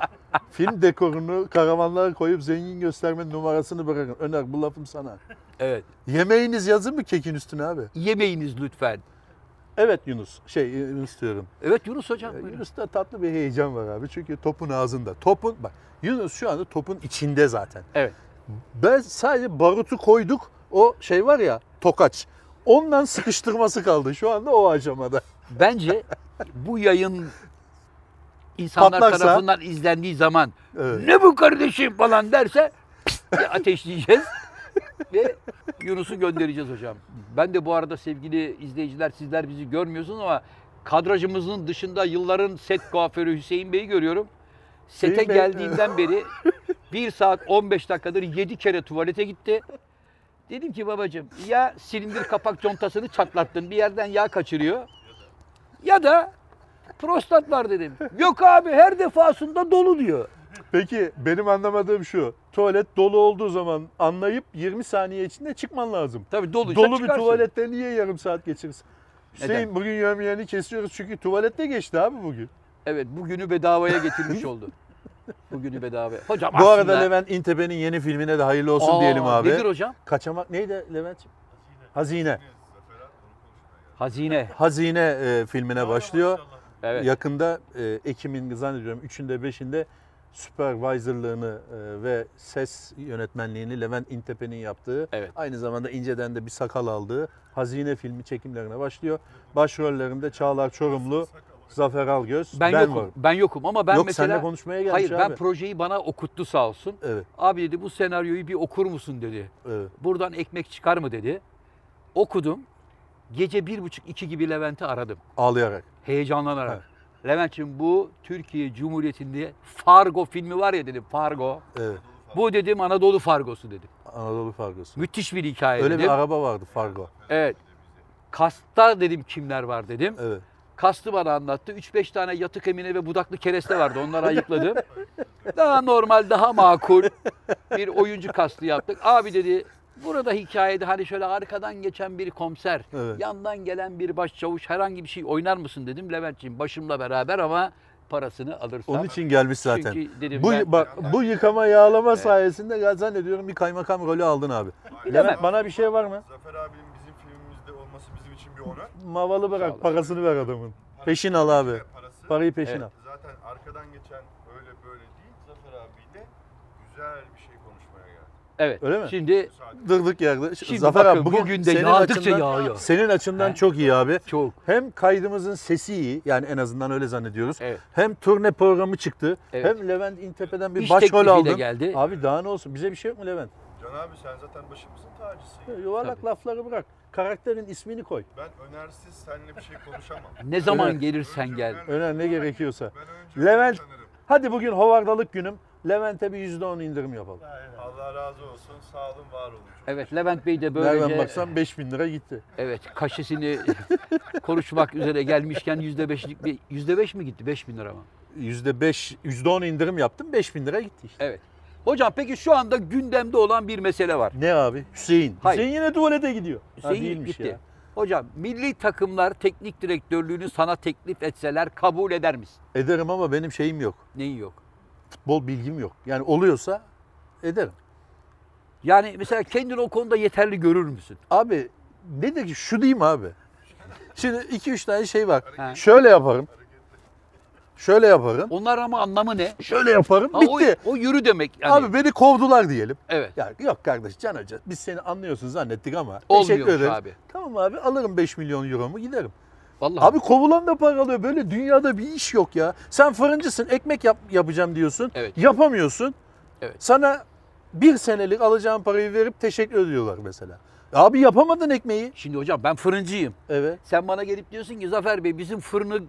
film dekorunu karavanlara koyup zengin göstermenin numarasını bırakın. Öner bu lafım sana.
Evet.
Yemeğiniz yazın mı kekin üstüne abi?
Yemeyiniz lütfen.
Evet Yunus. Şey Yunus diyorum.
Evet Ee, Yunus hocam.
Ya
buyurun.
Ee, Yunus'ta tatlı bir heyecan var abi. Çünkü topun ağzında. Topun bak Yunus şu anda topun içinde zaten.
Evet.
Ben sadece barutu koyduk. O şey var ya tokaç. Ondan sıkıştırması kaldı. Şu anda o aşamada.
Bence bu yayın insanlar
Patlarsa-
tarafından izlendiği zaman
Evet.
ne bu kardeşim falan derse pist diye ateşleyeceğiz ve Yunus'u göndereceğiz hocam. Ben de bu arada sevgili izleyiciler sizler bizi görmüyorsunuz ama kadrajımızın dışında yılların set kuaförü Hüseyin Bey'i görüyorum. Sete
Hüseyin Bey-
geldiğinden beri 1 saat 15 dakikadır 7 kere tuvalete gitti. Dedim ki babacığım ya silindir kapak contasını çatlattın bir yerden yağ kaçırıyor ya da prostat var dedim. Yok abi her defasında dolu diyor.
Peki benim anlamadığım şu. Tuvalet dolu olduğu zaman anlayıp 20 saniye içinde çıkman lazım.
Tabii doluysa
Dolu bir
çıkarsın.
tuvalette niye yarım saat geçirsin? Hüseyin
Neden?
bugün yövmiyeni kesiyoruz çünkü tuvalette geçti abi bugün.
Evet bugünü bedavaya getirmiş oldu. Bugünü bedava. Hocam
Bu
aslında...
arada Levent İntepe'nin yeni filmine de hayırlı olsun
Aa,
diyelim abi.
Nedir hocam?
Kaçamak neydi Levent'ciğim? Hazine.
Hazine.
Hazine e, filmine başlıyor.
Evet.
Yakında e, Ekim'in zannediyorum 3'ünde 5'inde supervisorlığını e, ve ses yönetmenliğini Levent İntepe'nin yaptığı,
Evet.
aynı zamanda İnce'den de bir sakal aldığı Hazine filmi çekimlerine başlıyor. Başrollerinde Çağlar Çorumlu, Zafer Algöz,
ben,
ben,
yokum.
varım.
Ben yokum ama ben
Yok
mesela
seninle konuşmaya gelmiş
Hayır
şey abi.
ben projeyi bana okuttu sağ olsun.
Evet,
Abi dedi bu senaryoyu bir okur musun dedi.
evet.
Buradan ekmek çıkar mı dedi. Okudum. Gece bir buçuk iki gibi Levent'i aradım.
Ağlayarak.
Heyecanlanarak. Levent'ciğim bu Türkiye Cumhuriyeti'nde Fargo filmi var ya dedim Fargo.
Evet.
Bu dedim Anadolu Fargosu dedim.
Anadolu Fargosu.
Müthiş bir hikaye
Öyle bir
dedim.
araba vardı Fargo.
Evet. Kasta dedim kimler var dedim.
Evet.
Kastı bana anlattı. 3-5 tane yatık emine ve budaklı kereste vardı. Onları ayıkladım. daha normal, daha makul bir oyuncu kastı yaptık. Abi dedi Burada hikayede hani şöyle arkadan geçen bir komiser,
Evet.
yandan gelen bir başçavuş herhangi bir şey oynar mısın dedim Levent'ciğim başımla beraber ama parasını alırsam.
Onun için gelmiş zaten.
Çünkü dedim
bu
ben-
bak bu yıkama yağlama sayesinde ya zannediyorum bir kaymakam rolü aldın abi. Levent bana bir şey var mı?
Zafer abinin bizim filmimizde olması bizim için bir onur.
Mavalı
Sağ ol.
bırak parasını ver adamın. Peşin al abi.
Parası
Parayı peşin
Evet.
al.
zaten arkadan geçen öyle böyle değil. Zafer abiyle güzel bir şey konuşmaya geldi.
Evet.
Öyle mi?
Şimdi
Müsaade.
Dırdık yerde. Ş-
Şimdi
Zafer abi
bakın,
bugün,
bugün de
de senin
yağdıkça
açından,
yağıyor.
Senin açından
He.
çok iyi abi.
çok
Hem kaydımızın sesi iyi yani en azından öyle zannediyoruz.
Evet.
Hem turne programı çıktı.
Evet.
Hem Levent İntepe'den bir
İş
başrol
teklifiyle
aldın.
geldi.
Abi daha ne olsun bize bir şey yok mu Levent?
Can abi sen zaten başımızın tacısın. ya.
Yuvarlak
Tabii.
lafları bırak. Karakterin ismini koy.
Ben önersiz seninle bir şey konuşamam.
ne zaman
Evet.
gelirsen
Önce
gel.
öner-
Öner ne gerekiyorsa.
Ben önce
Levent
tanırım.
hadi bugün hovardalık günüm. Levent'e bir %10 indirim yapalım.
Allah razı olsun. Sağ olun, var olun. Çok
Evet Levent Bey de
Nereden
böylece
baksan 5000 lira gitti.
evet kaşesini konuşmak üzere gelmişken yüzde beşlik bir yüzde beş mi gitti? Beş bin lira mı?
%5, %10 indirim yaptım 5000 lira gitti işte.
Evet. Hocam peki şu anda gündemde olan bir mesele var.
Ne abi? Hüseyin.
Hayır.
Hüseyin yine tuvalete gidiyor. Ha,
Hüseyin
değilmiş
gitti.
ya.
Hocam milli takımlar teknik direktörlüğünü sana teklif etseler kabul eder misin?
Ederim ama benim şeyim yok.
Neyi yok?
Futbol bilgim yok. Yani oluyorsa ederim.
Yani mesela kendini o konuda yeterli görür müsün?
Abi nedir ki şu diyeyim abi. Şimdi iki üç tane şey var.
Ha.
Şöyle yaparım. Şöyle yaparım.
Onlar ama anlamı ne?
Şöyle yaparım.
Ha, o,
Bitti.
o yürü demek yani.
Abi beni kovdular diyelim.
evet.
Ya yok kardeş Can Hoca biz seni anlıyorsun zannettik ama
Olmuyormuş
teşekkür ederiz.
abi.
Tamam abi alırım 5 milyon euromu giderim.
Vallahi
Abi kovulan da para alıyor. Böyle dünyada bir iş yok ya. Sen fırıncısın ekmek yap, yapacağım diyorsun.
Evet.
Yapamıyorsun.
Evet.
Sana bir senelik alacağın parayı verip teşekkür ediyorlar mesela. Abi yapamadın ekmeği.
şimdi hocam ben fırıncıyım.
Evet.
Sen bana gelip diyorsun ki Zafer Bey bizim fırını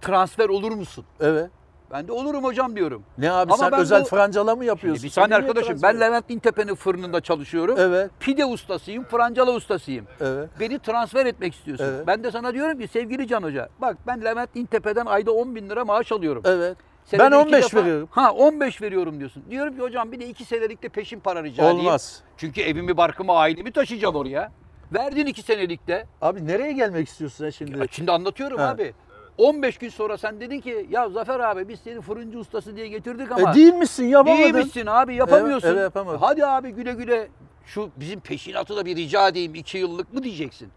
transfer olur musun?
Evet.
Ben de olurum hocam diyorum.
Ne abi
Ama
sen
ben
özel
bu-
francala mı yapıyorsun?
Şimdi bir saniye
Sen niye
arkadaşım
Hani transfer-
ben Levent Dintepe'nin fırınında çalışıyorum.
Evet.
Pide ustasıyım, francala ustasıyım.
Evet.
Beni transfer etmek istiyorsun.
Evet.
Ben de sana diyorum ki sevgili Can Hoca bak ben Levent Dintepe'den ayda 10 bin lira maaş alıyorum.
Evet.
Senede
ben
iki
15
defa-
veriyorum.
Ha 15 veriyorum diyorsun. Diyorum ki hocam bir de 2 senelik de peşin para rica edeyim.
Olmaz.
Çünkü evimi, barkımı, ailemi taşıyacağım oraya. Verdin 2 senelikte.
Abi nereye gelmek istiyorsun sen şimdi?
Ya şimdi anlatıyorum
Ha.
abi. 15 gün sonra sen dedin ki ya Zafer abi biz seni fırıncı ustası diye getirdik ama
E, değil misin yapamadın?
değilmişsin abi yapamıyorsun.
Evet, evet, yapamadım.
Hadi abi güle güle şu bizim peşinatı da bir rica edeyim 2 yıllık mı diyeceksin.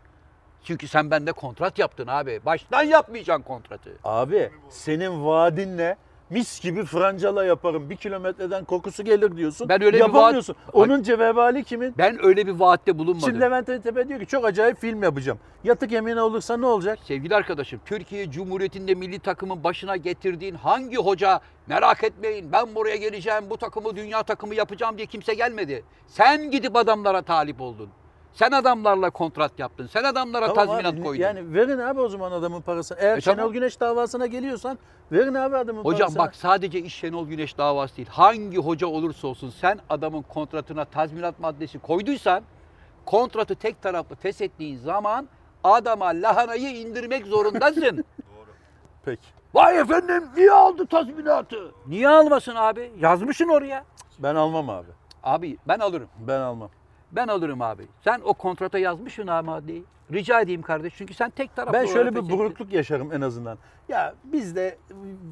Çünkü sen bende kontrat yaptın abi. Baştan yapmayacaksın kontratı.
Abi senin vaadinle mis gibi francala yaparım. Bir kilometreden kokusu gelir diyorsun.
Ben öyle bir
Yapamıyorsun.
vaat-
Onun cevabı kimin?
Ben öyle bir vaatte bulunmadım.
Şimdi Levent Entepe diyor ki çok acayip film yapacağım. Yatık emine olursa ne olacak?
Sevgili arkadaşım, Türkiye Cumhuriyeti'nde milli takımın başına getirdiğin hangi hoca merak etmeyin ben buraya geleceğim bu takımı dünya takımı yapacağım diye kimse gelmedi. Sen gidip adamlara talip oldun. Sen adamlarla kontrat yaptın. Sen adamlara
Tamam
tazminat
abi,
koydun.
Yani verin abi o zaman adamın parasını. Eğer
E,
Şenol
tamam.
Güneş davasına geliyorsan verin abi adamın
Hocam
parasını.
bak sadece iş Şenol Güneş davası değil. Hangi hoca olursa olsun sen adamın kontratına tazminat maddesi koyduysan kontratı tek taraflı feshettiğin zaman adama lahanayı indirmek zorundasın.
Peki.
Vay efendim niye aldı tazminatı? Niye almasın abi? Yazmışsın oraya.
Ben almam abi.
Abi ben alırım.
Ben almam.
Ben alırım abi. Sen o kontrata yazmışsın ama değil. Rica edeyim kardeş. Çünkü sen tek taraflı
Ben şöyle
olarak
bir
feshettin.
burukluk yaşarım en azından. Ya biz de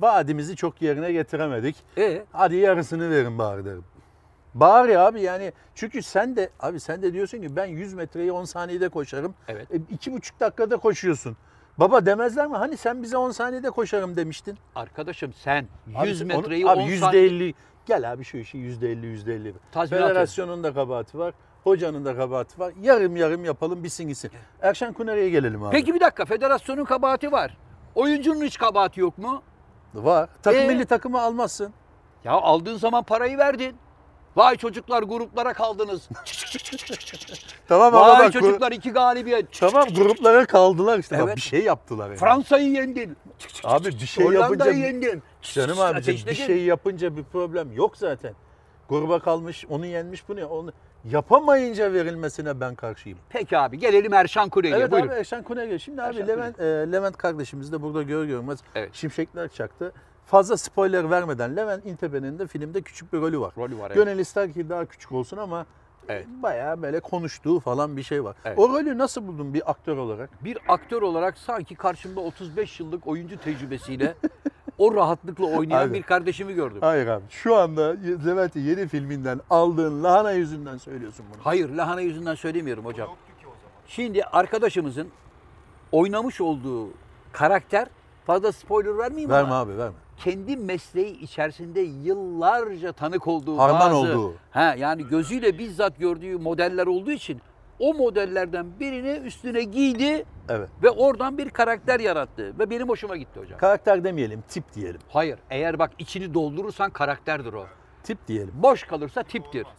vaadimizi çok yerine getiremedik.
Ee,
Hadi yarısını verin bari derim. Bari abi yani çünkü sen de abi sen de diyorsun ki ben 100 metreyi 10 saniyede koşarım.
Evet.
E, iki buçuk dakikada koşuyorsun. Baba demezler mi? Hani sen bize 10 saniyede koşarım demiştin.
arkadaşım sen
Abi
100
sen onu-
metreyi
abi
10
%50
saniye-
gel abi şu işi %50 %50.
Tazminat
Federasyonun da kabahati var. Hocanın da kabahati var. Yarım yarım yapalım bitsin gitsin. Erşen Kuneri'ye gelelim abi.
Peki bir dakika federasyonun kabahati var. Oyuncunun hiç kabahati yok mu?
Var. Takım
Ee?
milli takımı almazsın.
Ya aldığın zaman parayı verdin. Vay çocuklar gruplara kaldınız.
Tamam ama
Vay
bak. gru-
çocuklar iki galibiyet.
Tamam gruplara kaldılar işte. Bak,
Evet.
bir şey yaptılar. Yani.
Fransa'yı yendin.
Abi bir şey yapınca
Hollanda'yı yendin.
canım abicim bir
Ateşledin.
şey yapınca bir problem yok zaten. Gruba kalmış, onu yenmiş, bunu onu yapamayınca verilmesine ben karşıyım.
Peki abi gelelim Erşan Kure'ye.
Evet
Buyurun.
abi Erşen Kunege. Şimdi abi
Erşen
Levent, e, Levent kardeşimiz de burada gör görmez
Evet.
şimşekler çaktı. Fazla spoiler vermeden Levent İntepe'nin de filmde küçük bir rolü var.
Rolü var, evet.
Gönül ister ki daha küçük olsun ama
Evet.
Bayağı böyle konuştuğu falan bir şey var.
Evet.
O rolü nasıl buldun bir aktör olarak?
Bir aktör olarak sanki karşımda 35 yıllık oyuncu tecrübesiyle o rahatlıkla oynayan
Aynen.
bir kardeşimi gördüm.
Hayır abi. Şu anda Levent'i yeni filminden aldığın lahana yüzünden söylüyorsun bunu.
Hayır lahana yüzünden söylemiyorum hocam.
Yoktu ki o zaman.
Şimdi arkadaşımızın oynamış olduğu karakter fazla spoiler vermeyeyim ama
Verme abi verme.
kendi mesleği içerisinde yıllarca tanık olduğu
Harman
bazı,
olduğu.
He, yani gözüyle bizzat gördüğü modeller olduğu için o modellerden birini üstüne giydi
Evet.
ve oradan bir karakter yarattı ve benim hoşuma gitti hocam.
Karakter demeyelim, tip diyelim.
Hayır eğer bak içini doldurursan karakterdir o.
Tip diyelim.
Boş kalırsa tiptir.
Olmaz.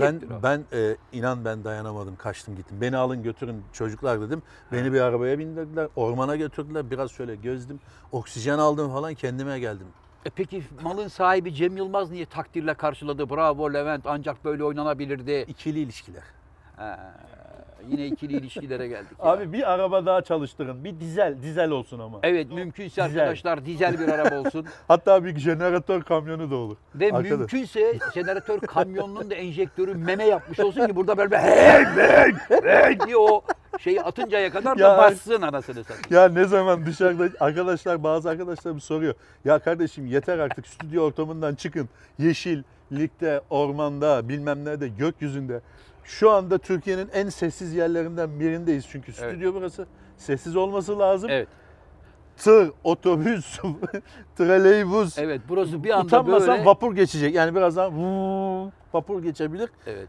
Ben
Tiptir o.
ben e, inan ben dayanamadım, kaçtım gittim. Beni alın götürün çocuklar dedim. Beni bir arabaya bindirdiler, ormana götürdüler. Biraz şöyle gezdim, oksijen aldım falan kendime geldim.
E peki malın sahibi Cem Yılmaz niye takdirle karşıladı? Bravo Levent ancak böyle oynanabilirdi.
İkili ilişkiler.
He, yine ikili ilişkilere geldik. ya.
Abi bir araba daha çalıştırın. Bir dizel, dizel olsun ama.
Evet mümkünse
Dizel.
arkadaşlar dizel bir araba olsun.
Hatta bir jeneratör kamyonu da olur.
Ve
Arkadaş.
mümkünse jeneratör kamyonunun da enjektörü meme yapmış olsun ki burada böyle hey hey hey diye o şeyi atıncaya kadar da
Ya.
bassın anasını satayım.
Ya ne zaman dışarıda arkadaşlar bazı arkadaşlarım soruyor. Ya kardeşim yeter artık stüdyo ortamından çıkın. Yeşillikte, ormanda, bilmem nerede, gökyüzünde. Şu anda Türkiye'nin en sessiz yerlerinden birindeyiz çünkü stüdyo burası. Sessiz olması lazım.
Evet.
Tır, otobüs, treleybüs.
Evet burası bir anda
Utanmasan
böyle.
vapur geçecek. Yani birazdan vuu, vapur geçebilir.
Evet.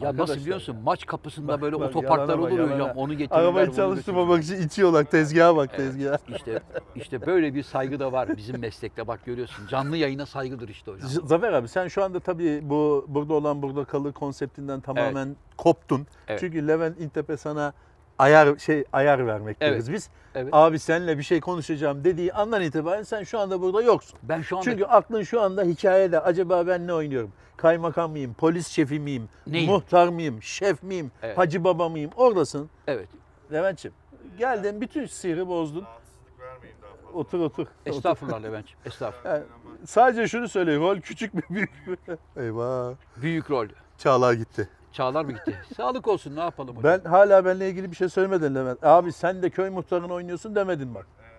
Ya
Arkadaşlar
nasıl biliyorsun
ya.
maç kapısında
Bak,
böyle
bak,
otoparklar
yalana bak,
olur ya
yalana.
hocam onu getirirler.
Arabayı
bunu
çalıştırmamak için itiyorlar. Tezgaha bak tezgaha.
götürürler. İşte, işte böyle bir saygı da var bizim meslekte bak görüyorsun. Canlı yayına saygıdır işte hocam.
Z- Zafer abi sen şu anda tabii bu burada olan burada kalır konseptinden tamamen koptun.
Evet.
Çünkü Levent İntepe sana ayar şey ayar vermek
Evet.
deriz biz.
Evet.
Abi seninle bir şey konuşacağım dediği andan itibaren sen şu anda burada yoksun.
Ben şu anda
Çünkü aklın şu anda hikayede. Acaba ben ne oynuyorum? Kaymakam mıyım? Polis şefi miyim?
Neyim?
Muhtar mıyım? Şef miyim?
Evet.
Hacı baba mıyım? Oradasın.
evet.
Levent'ciğim geldin bütün sihri bozdun.
Rahatsızlık vermeyin daha fazla.
Otur otur. otur.
Estağfurullah Levent'ciğim. Estağfurullah.
Yani sadece şunu söyle rol küçük mü büyük mü? Eyvah.
Büyük rol.
Çağlar gitti.
Çağlar mı gitti? Sağlık olsun ne yapalım hocam.
Ben hala benimle ilgili bir şey söylemedin Levent. Abi sen de köy muhtarını oynuyorsun demedin bak.
Ee,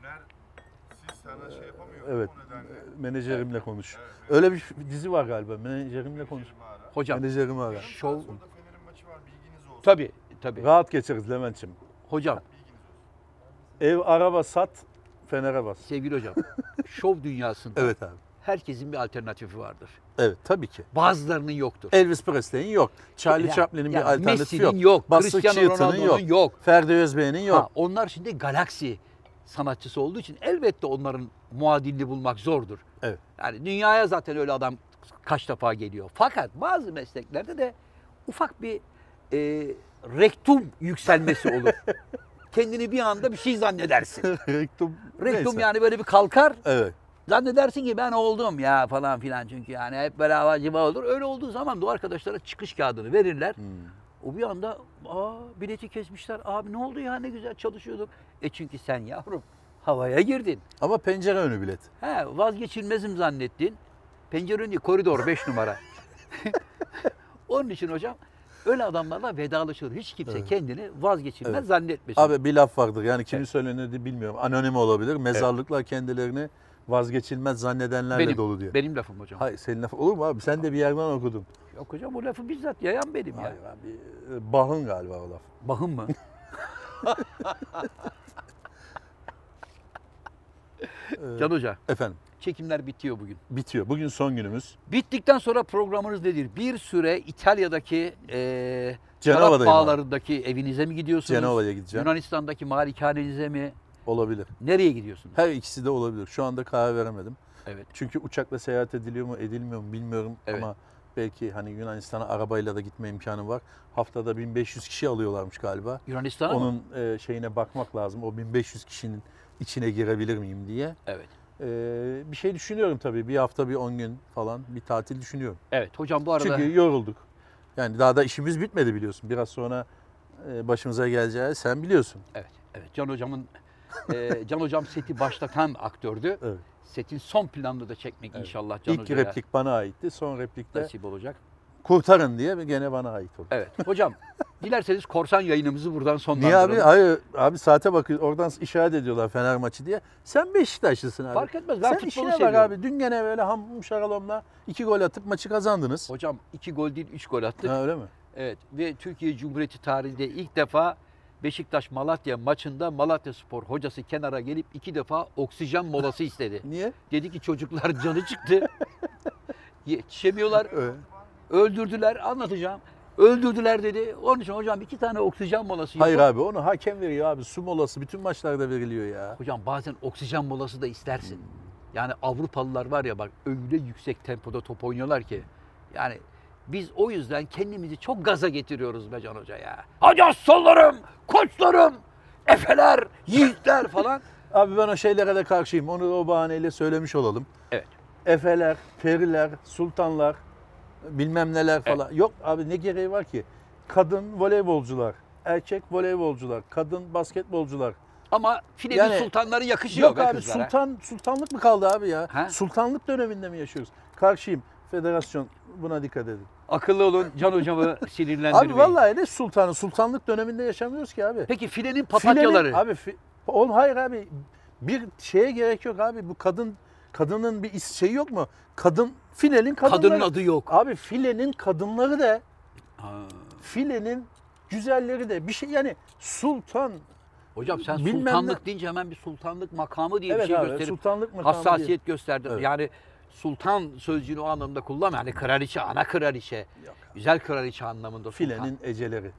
Öner siz sana şey yapamıyor.
Evet.
O nedenle.
Menajerimle konuş.
Evet, evet.
Öyle bir dizi var galiba. Menajerimle konuş.
Firma ara.
Hocam
Menajerimi ara.
Yarım saat
şov-
sonra da Fener'in maçı var bilginiz olsun.
tabii tabii.
Rahat geçeriz Levent'ciğim.
Hocam
Bilginiz olsun.
Ev, araba sat, Fener'e bas.
sevgili hocam şov dünyasında
Evet abi.
herkesin bir alternatifi vardır.
Evet tabii ki.
Bazılarının yoktur.
Elvis Presley'in yok. Charlie
Ya-
Chaplin'in
ya
bir alternatifi
Messi'nin
yok.
yok.
Buster
Cristiano
Keaton'ın
Ronaldo'nun
yok.
yok.
Ferdi Özbey'in yok.
Ha, onlar şimdi galaksi sanatçısı olduğu için elbette onların muadilini bulmak zordur.
Evet.
Yani dünyaya zaten öyle adam kaç defa geliyor. Fakat bazı mesleklerde de ufak bir e, rektum yükselmesi olur. Kendini bir anda bir şey zannedersin.
Rektum.
Rektum
neyse.
yani böyle bir kalkar.
Evet.
Zannedersin ki ben oldum ya falan filan çünkü yani hep böyle havacıma olur. Öyle olduğu zaman da o arkadaşlara çıkış kağıdını verirler.
Hmm.
O bir anda aa bileti kesmişler. Abi ne oldu ya ne güzel çalışıyorduk. E çünkü sen yavrum havaya girdin.
Ama pencere önü bilet.
He vazgeçilmezim zannettin. Pencere önü koridor 5 numara. Onun için hocam öyle adamlarla vedalaşılır. Hiç kimse kendini vazgeçilmez
Evet.
zannetmesin.
Abi bir laf vardır yani kimin
Evet.
söylenirdi bilmiyorum. Anonim olabilir. Mezarlıklar kendilerini vazgeçilmez zannedenlerle
benim,
dolu diyor.
benim lafım hocam.
Hayır senin laf olur mu abi? Sen de bir yerden okudun.
Yok hocam bu lafı bizzat yayan benim ya.
Hayır abi. e, Bahın galiba o laf.
Bahım mı? Can Hoca,
E, Efendim
çekimler bitiyor bugün.
bitiyor. Bugün son günümüz.
Bittikten sonra programınız nedir? Bir süre İtalya'daki eee Şarap
Cenova'dayım abi.
bağlarındaki evinize mi gidiyorsunuz?
Cenova'ya gideceğim.
Yunanistan'daki malikanenize mi?
Olabilir.
Nereye gidiyorsunuz?
Her ikisi de olabilir. Şu anda karar veremedim.
Evet.
Çünkü uçakla seyahat ediliyor mu edilmiyor mu bilmiyorum
Evet.
ama belki hani Yunanistan'a arabayla da gitme imkanı var. Haftada 1500 kişi alıyorlarmış galiba.
Yunanistan'a mı?
Onun e, şeyine bakmak lazım. O 1500 kişinin içine girebilir miyim diye.
Evet.
E, bir şey düşünüyorum tabii. Bir hafta bir 10 gün falan bir tatil düşünüyorum.
Evet hocam bu arada
Çünkü yorulduk. Yani daha da işimiz bitmedi biliyorsun. Biraz sonra e, başımıza geleceği sen biliyorsun.
evet evet Can hocamın eee, Can hocam seti başlatan aktördü.
Evet.
Setin son planını da çekmek inşallah Can
İlk
hocaya
replik bana aitti. Son replikte
nasip olacak.
kurtarın diye gene bana ait oldu.
Evet. Hocam dilerseniz korsan yayınımızı buradan
Niye
sonlandıralım.
abi? Hayır abi saate bakıyor. Oradan işaret ediyorlar Fener maçı diye. Sen Beşiktaşlısın abi.
Fark etmez, ben
Sen
futbolu
işine
seviyorum.
bak abi. Dün gene böyle ham şaralomla iki gol atıp maçı kazandınız.
Hocam iki gol değil üç gol attık.
Ha, öyle mi?
Evet ve Türkiye Cumhuriyeti tarihinde ilk defa Beşiktaş Malatya maçında Malatya Spor hocası kenara gelip iki defa oksijen molası istedi.
Niye?
Dedi ki çocuklar canı çıktı. Yetişemiyorlar.
Evet.
Öldürdüler anlatacağım. Öldürdüler dedi. Onun için hocam iki tane oksijen molası
Hayır
yapın.
abi onu hakem veriyor abi. Su molası bütün maçlarda veriliyor ya.
Hocam bazen oksijen molası da istersin.
Hmm.
Yani Avrupalılar var ya bak öyle yüksek tempoda top oynuyorlar ki. Yani biz o yüzden kendimizi çok gaza getiriyoruz be Can Hoca ya. Hadi aslanlarım, koçlarım, efeler, yiğitler falan.
Abi ben o şeylere de karşıyım. Onu o bahaneyle söylemiş olalım.
Evet.
Efeler, periler, sultanlar, bilmem neler falan. Yok abi ne gereği var ki? Kadın voleybolcular, erkek voleybolcular, kadın basketbolcular.
Ama filenin
Yani-
sultanları yakışıyor
Yok
şey be
abi
kızlara.
sultan sultanlık mı kaldı abi ya?
Ha?
Sultanlık döneminde mi yaşıyoruz? Karşıyım. Federasyon buna dikkat edin.
Akıllı olun Can Hocamı sinirlendirmeyin.
Abi vallahi ne sultanı? Sultanlık döneminde yaşamıyoruz ki abi.
Peki filenin
Filenin-
papatyaları.
abi fi, oğlum hayır abi bir şeye gerek yok abi bu kadın kadının bir is- şeyi yok mu? Kadın filenin kadınları.
Kadının adı yok.
Abi filenin kadınları da
Ha.
filenin güzelleri de bir şey yani sultan
Hocam sen
Bilmem ne-
sultanlık deyince hemen bir sultanlık makamı diye
evet
bir şey
abi
gösterip
sultanlık mı
hassasiyet gösterdi.
Evet.
Yani sultan sözcüğünü o anlamda kullan. Yani kraliçe, ana kraliçe.
Yok.
Güzel kraliçe anlamında sultan.
filenin eceleri.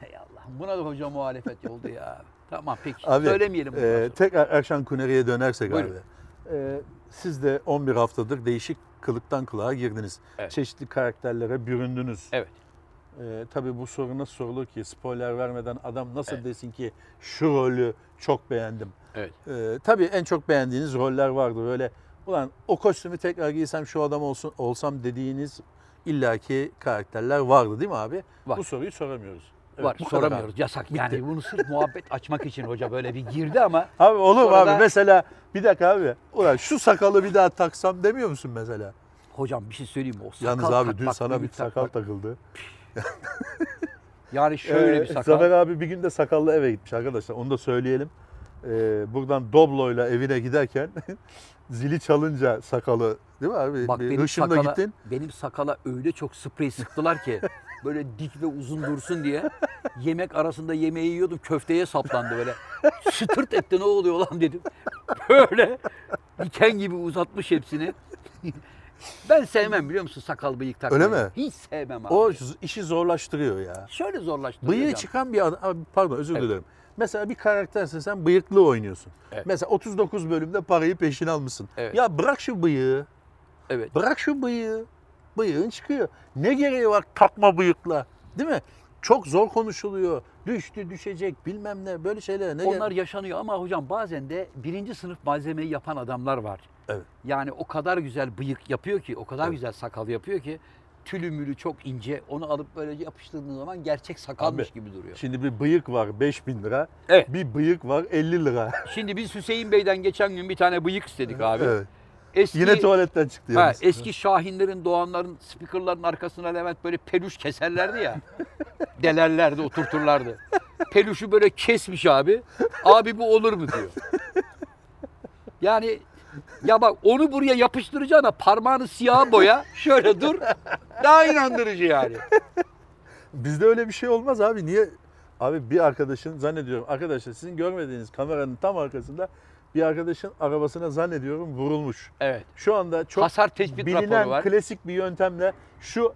Hey Allah. Buna da hoca muhalefet oldu ya. tamam peki.
Abi,
Söylemeyelim. bundan
Ee,
sonra.
tekrar Erşan Kuneri'ye dönersek
Buyurun.
abi. Ee, siz de 11 haftadır değişik kılıktan kılığa girdiniz.
Evet.
Çeşitli karakterlere büründünüz.
Evet.
Ee, tabii bu soru nasıl sorulur ki? Spoiler vermeden adam nasıl desin ki şu rolü çok beğendim.
Evet.
Ee, tabii en çok beğendiğiniz roller vardı. Böyle ulan o kostümü tekrar giysem şu adam olsun olsam dediğiniz illaki karakterler vardı değil mi abi?
Var.
Bu soruyu soramıyoruz. Evet,
Var
bu kadar
soramıyoruz yasak. Yani bunu sırf muhabbet açmak için hoca böyle bir girdi ama
Abi olur mu
Sonra da-
abi mesela bir dakika abi. Ulan şu sakalı bir daha taksam demiyor musun mesela?
hocam bir şey söyleyeyim mi? O sakal
Yalnız abi dün
takmak,
sana bir
büyük
sakal takıldı.
Yani şöyle
Ee,
bir sakal.
Zafer abi bir gün de sakallı eve gitmiş arkadaşlar. Onu da söyleyelim. Ee, buradan Doblo'yla evine giderken zili çalınca sakalı değil mi abi?
Bak
bir
benim
hışımla
sakala,
gittin.
benim sakala öyle çok sprey sıktılar ki böyle dik ve uzun dursun diye yemek arasında yemeği yiyordum köfteye saplandı böyle. Şıtırt etti ne oluyor lan dedim. Böyle diken gibi uzatmış hepsini. ben sevmem biliyor musun sakal bıyık takmayı.
Öyle mi?
Hiç sevmem abi.
O z- işi zorlaştırıyor ya.
Şöyle zorlaştırıyor.
Bıyığı
canım.
çıkan bir adam, abi pardon özür
Evet.
dilerim. Mesela bir karaktersin sen bıyıklı oynuyorsun.
Evet.
Mesela 39 bölümde parayı peşin almışsın.
Evet.
Ya bırak şu bıyığı.
Evet.
Bırak şu bıyığı. Bıyığın çıkıyor. Ne gereği var takma bıyıkla. Değil mi? Çok zor konuşuluyor. Düştü, düşecek bilmem ne. Böyle şeylere ne
Onlar
gerek-
yaşanıyor ama hocam bazen de birinci sınıf malzemeyi yapan adamlar var.
Evet.
Yani o kadar güzel bıyık yapıyor ki, o kadar güzel sakal yapıyor ki tülü mülü çok ince. Onu alıp böyle yapıştırdığın zaman gerçek sakalmış
Abi,
gibi duruyor.
Şimdi bir bıyık var 5000 lira.
Evet.
Bir bıyık var 50 lira.
Şimdi biz Hüseyin Bey'den geçen gün bir tane bıyık istedik abi.
Evet.
Eski,
Yine tuvaletten çıktı
ha,
yalnız.
eski Şahinlerin, Doğanların, speakerların arkasına Levent böyle peluş keserlerdi ya. delerlerdi, oturturlardı. Peluşu böyle kesmiş abi. Abi bu olur mu diyor. Yani ya bak onu buraya yapıştıracağına parmağını siyah boya şöyle dur. Daha inandırıcı yani.
Bizde öyle bir şey olmaz abi. Niye? Abi bir arkadaşın zannediyorum arkadaşlar sizin görmediğiniz kameranın tam arkasında bir arkadaşın arabasına zannediyorum vurulmuş.
Evet.
Şu anda çok
Hasar tespit
bilinen
raporu var.
klasik bir yöntemle şu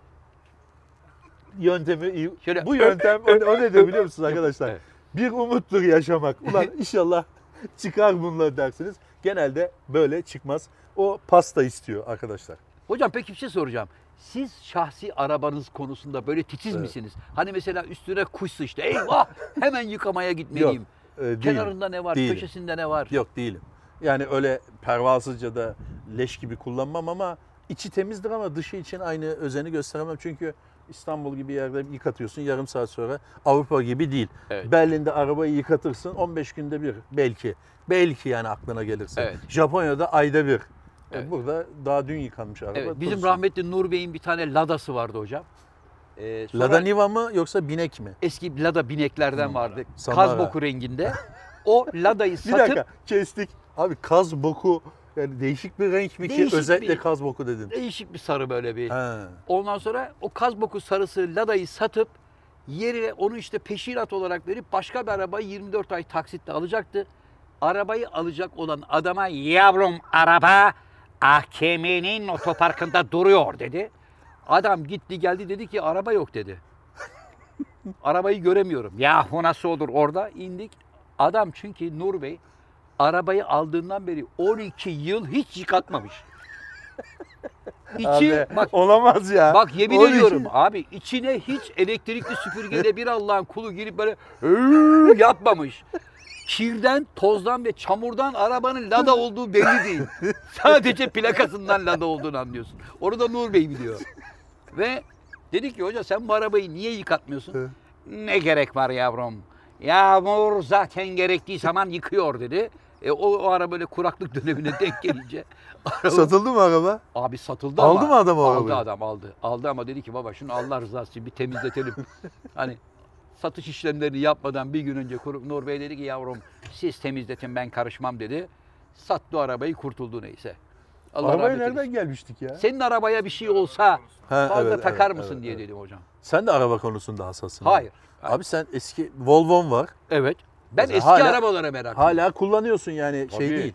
yöntemi iyi.
Şöyle-
bu yöntem o, o nedir biliyor musunuz arkadaşlar?
Evet.
Bir umuttur yaşamak. Ulan inşallah çıkar bunlar dersiniz. Genelde böyle çıkmaz. O pasta istiyor arkadaşlar.
Hocam peki bir şey soracağım. Siz şahsi arabanız konusunda böyle titiz misiniz? Hani mesela üstüne kuş sıçtı. Eyvah! Hemen yıkamaya gitmeliyim.
Ee, değilim.
Kenarında ne var?
Değilim.
Köşesinde ne var?
Yok değilim. Yani öyle pervasızca da leş gibi kullanmam ama içi temizdir ama dışı için aynı özeni gösteremem. Çünkü İstanbul gibi yerde yıkatıyorsun yarım saat sonra Avrupa gibi değil.
Evet.
Berlin'de arabayı yıkatırsın 15 günde bir belki. Belki yani aklına gelirse.
Evet.
Japonya'da ayda bir. E,
Evet.
Burada daha dün yıkanmış araba.
Evet, bizim
dursun.
rahmetli Nur Bey'in bir tane Lada'sı vardı hocam. Ee, sonra
Lada Niva mı yoksa binek mi?
eski Lada bineklerden vardı.
Samara.
Kazboku renginde. O Lada'yı
Bir
satıp
dakika kestik. Abi kaz boku yani değişik bir renk mi
Değişik
ki özellikle
bir- E,
kaz boku dedin?
değişik bir sarı böyle bir.
He.
Ondan sonra o Kazboku sarısı Lada'yı satıp yerine onu işte peşinat olarak verip başka bir arabayı 24 ay taksitle alacaktı. Arabayı alacak olan adama yavrum araba AKM'nin otoparkında duruyor dedi. Adam gitti geldi dedi ki araba yok dedi. Arabayı göremiyorum. Yahu nasıl olur orada indik. Adam çünkü Nur Bey arabayı aldığından beri 12 yıl hiç yıkatmamış. İçi,
Abi,
bak
Olamaz ya.
Bak yemin
12
ediyorum abi içine hiç elektrikli süpürgeyle bir Allah'ın kulu girip böyle "Hıı" yapmamış. Kirden, tozdan ve çamurdan arabanın lada olduğu belli değil. Sadece plakasından lada olduğunu anlıyorsun. Onu da Nur Bey biliyor. Ve dedi ki hoca sen bu arabayı niye yıkatmıyorsun? ne gerek var yavrum? Yağmur zaten gerektiği zaman yıkıyor dedi. E, o, o ara böyle kuraklık dönemine denk gelince. araba-
Satıldı mı araba?
Abi satıldı ama.
Aldı mı adam o
Aldı
arabayı?
adam aldı. Aldı ama dedi ki baba şunu Allah rızası için bir temizletelim. hani satış işlemlerini yapmadan bir gün önce kurup Nur Bey dedi ki yavrum siz temizletin ben karışmam dedi. Sattı arabayı kurtuldu neyse. Allah
Arabaya
rahmet eylesin.
nereden gelmiştik ya?
Senin arabaya bir şey olsa
He,
fazla
evet,
takar
evet,
mısın
evet,
diye
evet.
dedim hocam.
Sen de araba konusunda hassassın.
Hayır.
Abi, Abi sen eski Volvo'n var.
Evet. Ben
Mesela
eski
hala-
arabalara meraklıyım.
Hala kullanıyorsun yani şey
Tabii.
değil.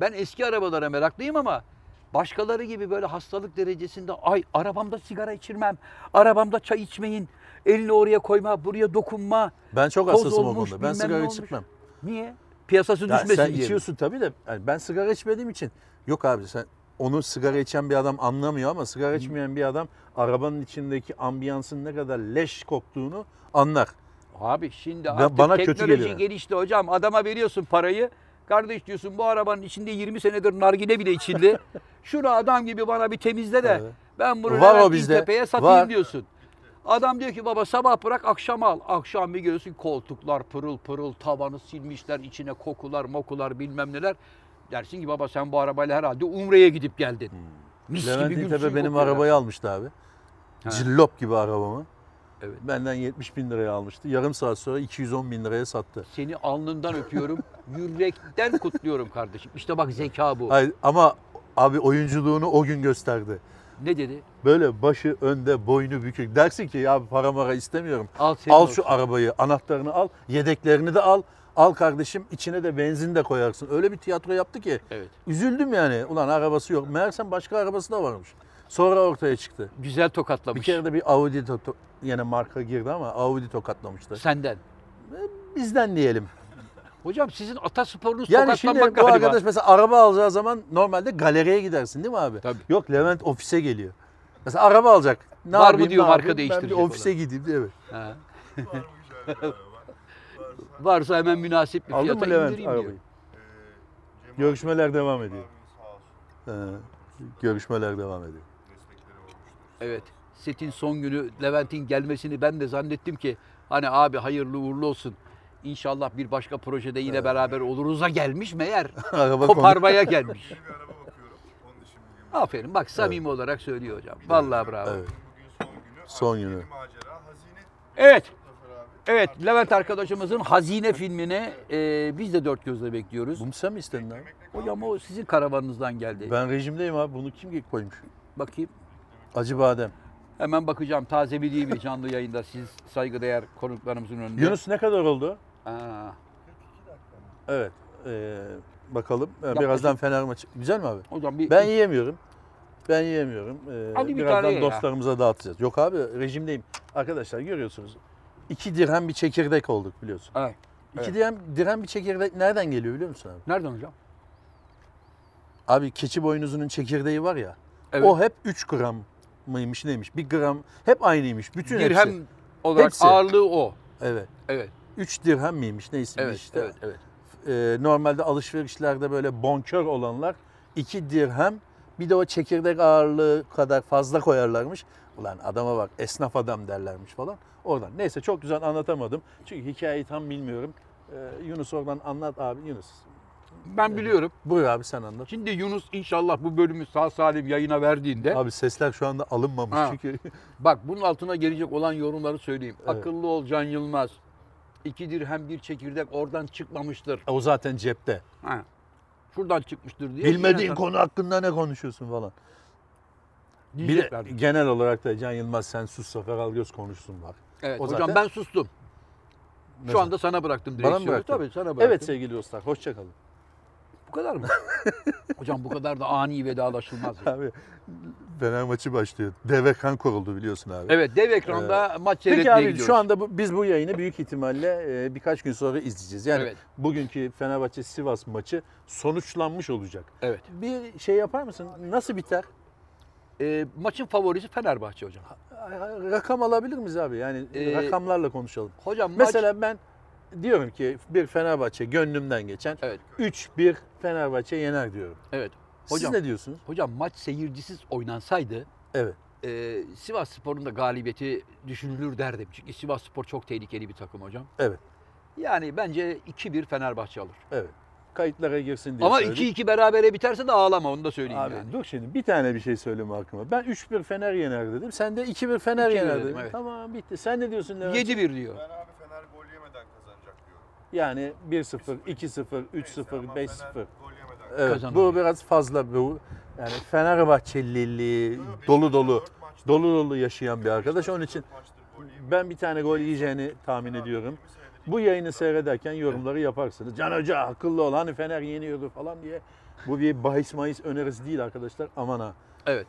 Ben eski arabalara meraklıyım ama başkaları gibi böyle hastalık derecesinde ay arabamda sigara içirmem, arabamda çay içmeyin, elini oraya koyma, buraya dokunma.
Ben çok
Toz
hassasım o
olmuş,
konuda.
bilmem
Ben
ne
sigara
olmuş.
içmem.
Niye? Piyasası
Ya
düşmesin
sen
diye. mi?
içiyorsun tabii de yani ben sigara içmediğim için. Yok abi sen onu sigara içen bir adam anlamıyor ama sigara içmeyen bir adam arabanın içindeki ambiyansın ne kadar leş koktuğunu anlar.
Abi şimdi
Ben-
artık
bana kötü
teknoloji
geliyor.
gelişti hocam. Adama veriyorsun parayı. Kardeş diyorsun bu arabanın içinde 20 senedir nargile bile içildi. Şunu adam gibi bana bir temizle de
Evet.
ben bunu
Var o
Levent
bizde.
Gültepe'ye satayım
Var.
diyorsun. Adam diyor ki baba sabah bırak akşam al. Akşam bir görüyorsun koltuklar pırıl pırıl tavanı silmişler içine kokular mokular bilmem neler. Dersin ki baba sen bu arabayla herhalde Umre'ye gidip geldin. Mis
Hmm. Levent
gülsün
İntepe benim
kokuyor.
arabayı almıştı abi.
Ha.
Cillop gibi arabamı.
Evet.
Benden 70 bin liraya almıştı. Yarım saat sonra 210 bin liraya sattı.
Seni alnından öpüyorum. Yürekten kutluyorum kardeşim. İşte bak zeka bu.
Hayır, ama abi oyunculuğunu o gün gösterdi.
Ne dedi?
Böyle başı önde, boynu bükük. Dersin ki ya para mara istemiyorum.
Al senin
Al
olsun.
şu arabayı, anahtarını al, yedeklerini de al. Al kardeşim içine de benzin de koyarsın. Öyle bir tiyatro yaptı ki.
Evet.
Üzüldüm yani. Ulan arabası yok. Meğersem başka arabası da varmış. Sonra ortaya çıktı.
Güzel
Bir
tokatlamış.
kere de bir Audi to- yine marka girdi ama Audi tokatlamıştı.
Senden.
Bizden diyelim.
Hocam sizin atasporunuz
Yani şimdi
tokatlanmak
bu
galiba.
arkadaş mesela araba alacağı zaman normalde galeriye gidersin değil mi abi?
Tabii.
Yok Levent ofise geliyor. Mesela araba alacak. Ne
Var mı
yapayım,
diyor,
ne
marka
yapayım? Ben bir
değiştirecek
ofise gideyim değil mi?
Ha.
Var mı güzel bir araba? Varsa,
Varsa hemen münasip bir
Aldın
fiyata
mı Levent
indireyim
arabayı?
diyor.
e, Cem
Görüşmeler devam
abi, Cem
ediyor.
abimiz sağ olsun.
Ee, görüşmeler devam ediyor.
Destekleri olmuştur.
Evet. Setin son günü Levent'in gelmesini ben de zannettim ki hani abi hayırlı uğurlu olsun. İnşallah bir başka projede yine beraber oluruz'a gelmiş meğer.
Araba konu-
koparmaya gelmiş.
Yeni bir araba bakıyorum. Onun için bugün
Aferin bak samimi olarak söylüyor hocam. Vallahi bravo.
Evet.
bugün son günü.
Son günü.
Artık yeni Macera, hazine.
evet.
Zafer abi.
Evet, Levent arkadaşımızın Hazine filmini e, biz de dört gözle bekliyoruz.
Bunu sen mi istedin abi?
Hocam o sizin karavanınızdan geldi.
Ben rejimdeyim abi. Bunu kim koymuş?
Bakayım.
Acı badem.
Hemen bakacağım. Tazeleyeyim mi canlı yayında siz saygıdeğer konuklarımızın önünde.
Yunus ne kadar oldu?
Aa,
Evet. ee, bakalım. Ee,
Yaklaşık-
birazdan Fener maçı. Güzel mi abi?
hocam bir
Ben yiyemiyorum. Ben yiyemiyorum. Ee,
Hadi bir
birazdan
tane ye ya.
dostlarımıza dağıtacağız. Yok abi rejimdeyim. Arkadaşlar görüyorsunuz. iki dirhem bir çekirdek olduk biliyorsun.
Evet.
İki
Evet.
dirhem, dirhem bir çekirdek nereden geliyor biliyor musun abi?
Nereden hocam?
Abi keçi boynuzunun çekirdeği var ya.
Evet.
O hep 3 gram mıymış neymiş? Bir gram hep aynıymış. Bütün
dirhem
hepsi.
olarak
Hepsi.
ağırlığı o.
Evet.
Evet.
3 dirhem miymiş neyse
Evet.
işte.
Evet. Evet.
Ee, normalde alışverişlerde böyle bonkör olanlar 2 dirhem bir de o çekirdek ağırlığı kadar fazla koyarlarmış. Ulan adama bak esnaf adam derlermiş falan. Oradan neyse çok güzel anlatamadım. Çünkü hikayeyi tam bilmiyorum. Ee, Yunus oradan anlat abi Yunus.
Ben biliyorum.
Buyur abi sen anlat.
Şimdi Yunus inşallah bu bölümü sağ salim yayına verdiğinde
Abi sesler şu anda alınmamış
Ha.
çünkü.
bak bunun altına gelecek olan yorumları söyleyeyim.
Evet.
Akıllı ol Can Yılmaz. İki dirhem bir çekirdek oradan çıkmamıştır.
o zaten cepte.
Ha. Şuradan çıkmıştır diye.
Bilmediğin
yine-
konu hakkında ne konuşuyorsun falan. Bir de
diyeceklerdi.
genel olarak da Can Yılmaz sen sus Zafer Algöz konuşsun var.
Evet,
o
hocam
zaten-
ben sustum. Şu
Mesela.
anda sana bıraktım
Bana mı
direksiyonu.
bıraktın?
Tabii sana bıraktım.
Evet şey- sevgili dostlar hoşçakalın.
Bu kadar mı? Hocam bu kadar da ani vedalaşılmaz. ya.
Abi Fener maçı başlıyor. Deve kan koruldu biliyorsun abi.
Evet dev ekranda maç
Peki
seyretmeye
abi
gidiyoruz.
şu anda bu- biz bu yayını büyük ihtimalle e, birkaç gün sonra izleyeceğiz. Yani
Evet.
bugünkü Fenerbahçe Sivas maçı sonuçlanmış olacak.
Evet.
Bir şey yapar mısın? Nasıl biter?
Ee, maçın favorisi Fenerbahçe hocam.
Rakam alabilir miyiz abi? Yani
Ee,
rakamlarla konuşalım.
Hocam maç...
Mesela ben diyorum ki bir Fenerbahçe gönlümden geçen
Evet.
3-1 Fenerbahçe yener diyorum.
Evet.
Siz
Hocam-
ne diyorsunuz?
Hocam maç seyircisiz oynansaydı
Evet.
e, Sivas Spor'un da galibiyeti düşünülür derdim. Çünkü Sivas Spor çok tehlikeli bir takım hocam.
Evet.
Yani bence 2-1 Fenerbahçe alır.
Evet. Kayıtlara girsin diye
Ama
söyledim.
2-2 berabere biterse de ağlama onu da söyleyeyim
Abi
yani.
dur şimdi bir tane bir şey söyleme hakkıma. Ben 3-1 Fener yener dedim. Sen de 2-1 Fener
2-1
yener
dedim,
dedin.
evet.
Tamam bitti. Sen ne diyorsun Levent?
7-1 diyor.
Ben abi Fener gol yemeden kazanacak diyorum.
Yani 1-0, 2-0,
Neyse
3-0,
ama
5-0.
Fener gol yemeden
Evet,
Kazanır
bu
yani.
biraz fazla bu. Yani Fenerbahçeliliği
Yok, beş-
dolu dolu
dört maçtır-
dolu dolu yaşayan bir arkadaş.
dört
Onun için
maçtır gol yemeyen.
ben bir tane gol yiyeceğini tahmin ediyorum.
Yirmi senedir
Bu yayını seyrederken yorumları yaparsınız. Can Hoca akıllı ol hani Fener yeniyordu falan diye. Bu bir bahis mahis önerisi değil arkadaşlar. Aman ha.
Evet.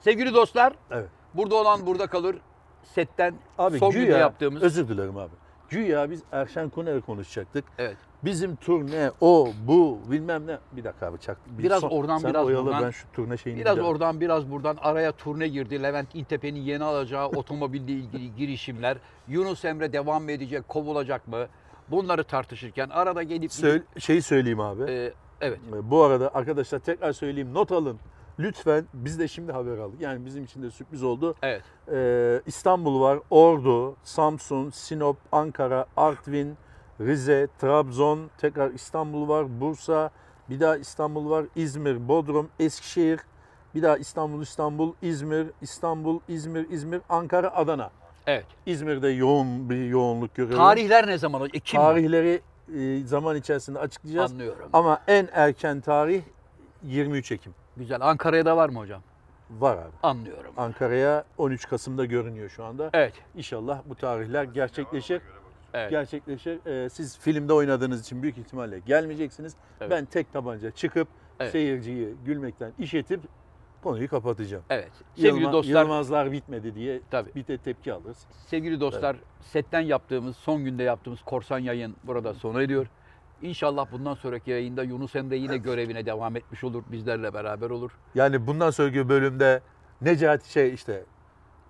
Sevgili dostlar
Evet.
burada olan burada kalır. Setten
Abi
son günde
güya,
yaptığımız.
özür dilerim abi. Güya biz Erşen Kuner'i konuşacaktık.
Evet.
Bizim turne o bu bilmem ne. Bir dakika abi çak. bir
Biraz oradan,
sen
biraz
oyalı,
buradan.
ben şu turne şeyini
Biraz
bir daha-
oradan biraz buradan araya turne girdi. Levent İntepe'nin yeni alacağı otomobille ilgili girişimler. Yunus Emre devam mı edecek, kovulacak mı? Bunları tartışırken arada gelip...
Söyle, şey söyleyeyim abi.
Ee, evet.
E, Bu arada arkadaşlar tekrar söyleyeyim not alın. Lütfen biz de şimdi haber aldık. Yani bizim için de sürpriz oldu.
Evet.
E, İstanbul var, Ordu, Samsun, Sinop, Ankara, Artvin, Rize, Trabzon, tekrar İstanbul var, Bursa, bir daha İstanbul var, İzmir, Bodrum, Eskişehir, bir daha İstanbul, İstanbul, İzmir, İstanbul, İzmir, İzmir, Ankara, Adana.
Evet.
İzmir'de yoğun bir yoğunluk görüyorum.
Tarihler ne zaman? E, kim?
Tarihleri e, zaman içerisinde açıklayacağız.
Anlıyorum.
Ama en erken tarih 23 Ekim.
Güzel. Ankara'ya da var mı hocam?
Var abi.
Anlıyorum.
Ankara'ya 13 Kasım'da görünüyor şu anda.
Evet.
İnşallah bu tarihler gerçekleşir.
göre bakacağım.
Evet.
Gerçekleşir. Ee, siz filmde oynadığınız için büyük ihtimalle gelmeyeceksiniz.
Evet.
Ben tek tabanca çıkıp
Evet.
seyirciyi gülmekten işetip konuyu kapatacağım.
Evet. Sevgili
Yılma-
dostlar,
Yılmazlar bitmedi diye
Tabii.
bir de tepki alırız.
sevgili dostlar, setten yaptığımız, son günde yaptığımız korsan yayın burada sona ediyor. İnşallah bundan sonraki yayında Yunus Emre yine görevine devam etmiş olur, bizlerle beraber olur.
Yani bundan sonraki bölümde Necati şey işte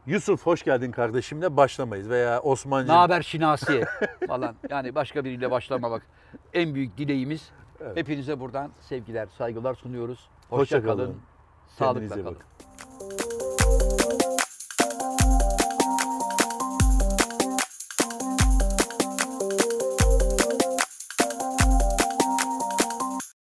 Yusuf hoş geldin kardeşimle başlamayız veya
Ne
Osmancı
haber Şinasi falan. Yani başka biriyle başlamamak en büyük dileğimiz.
Evet.
Hepinize buradan sevgiler, saygılar sunuyoruz. Hoşça,
Hoşça
kalın.
kalın.
Sağlıkla
Kendinize iyi
kalın.
bakın.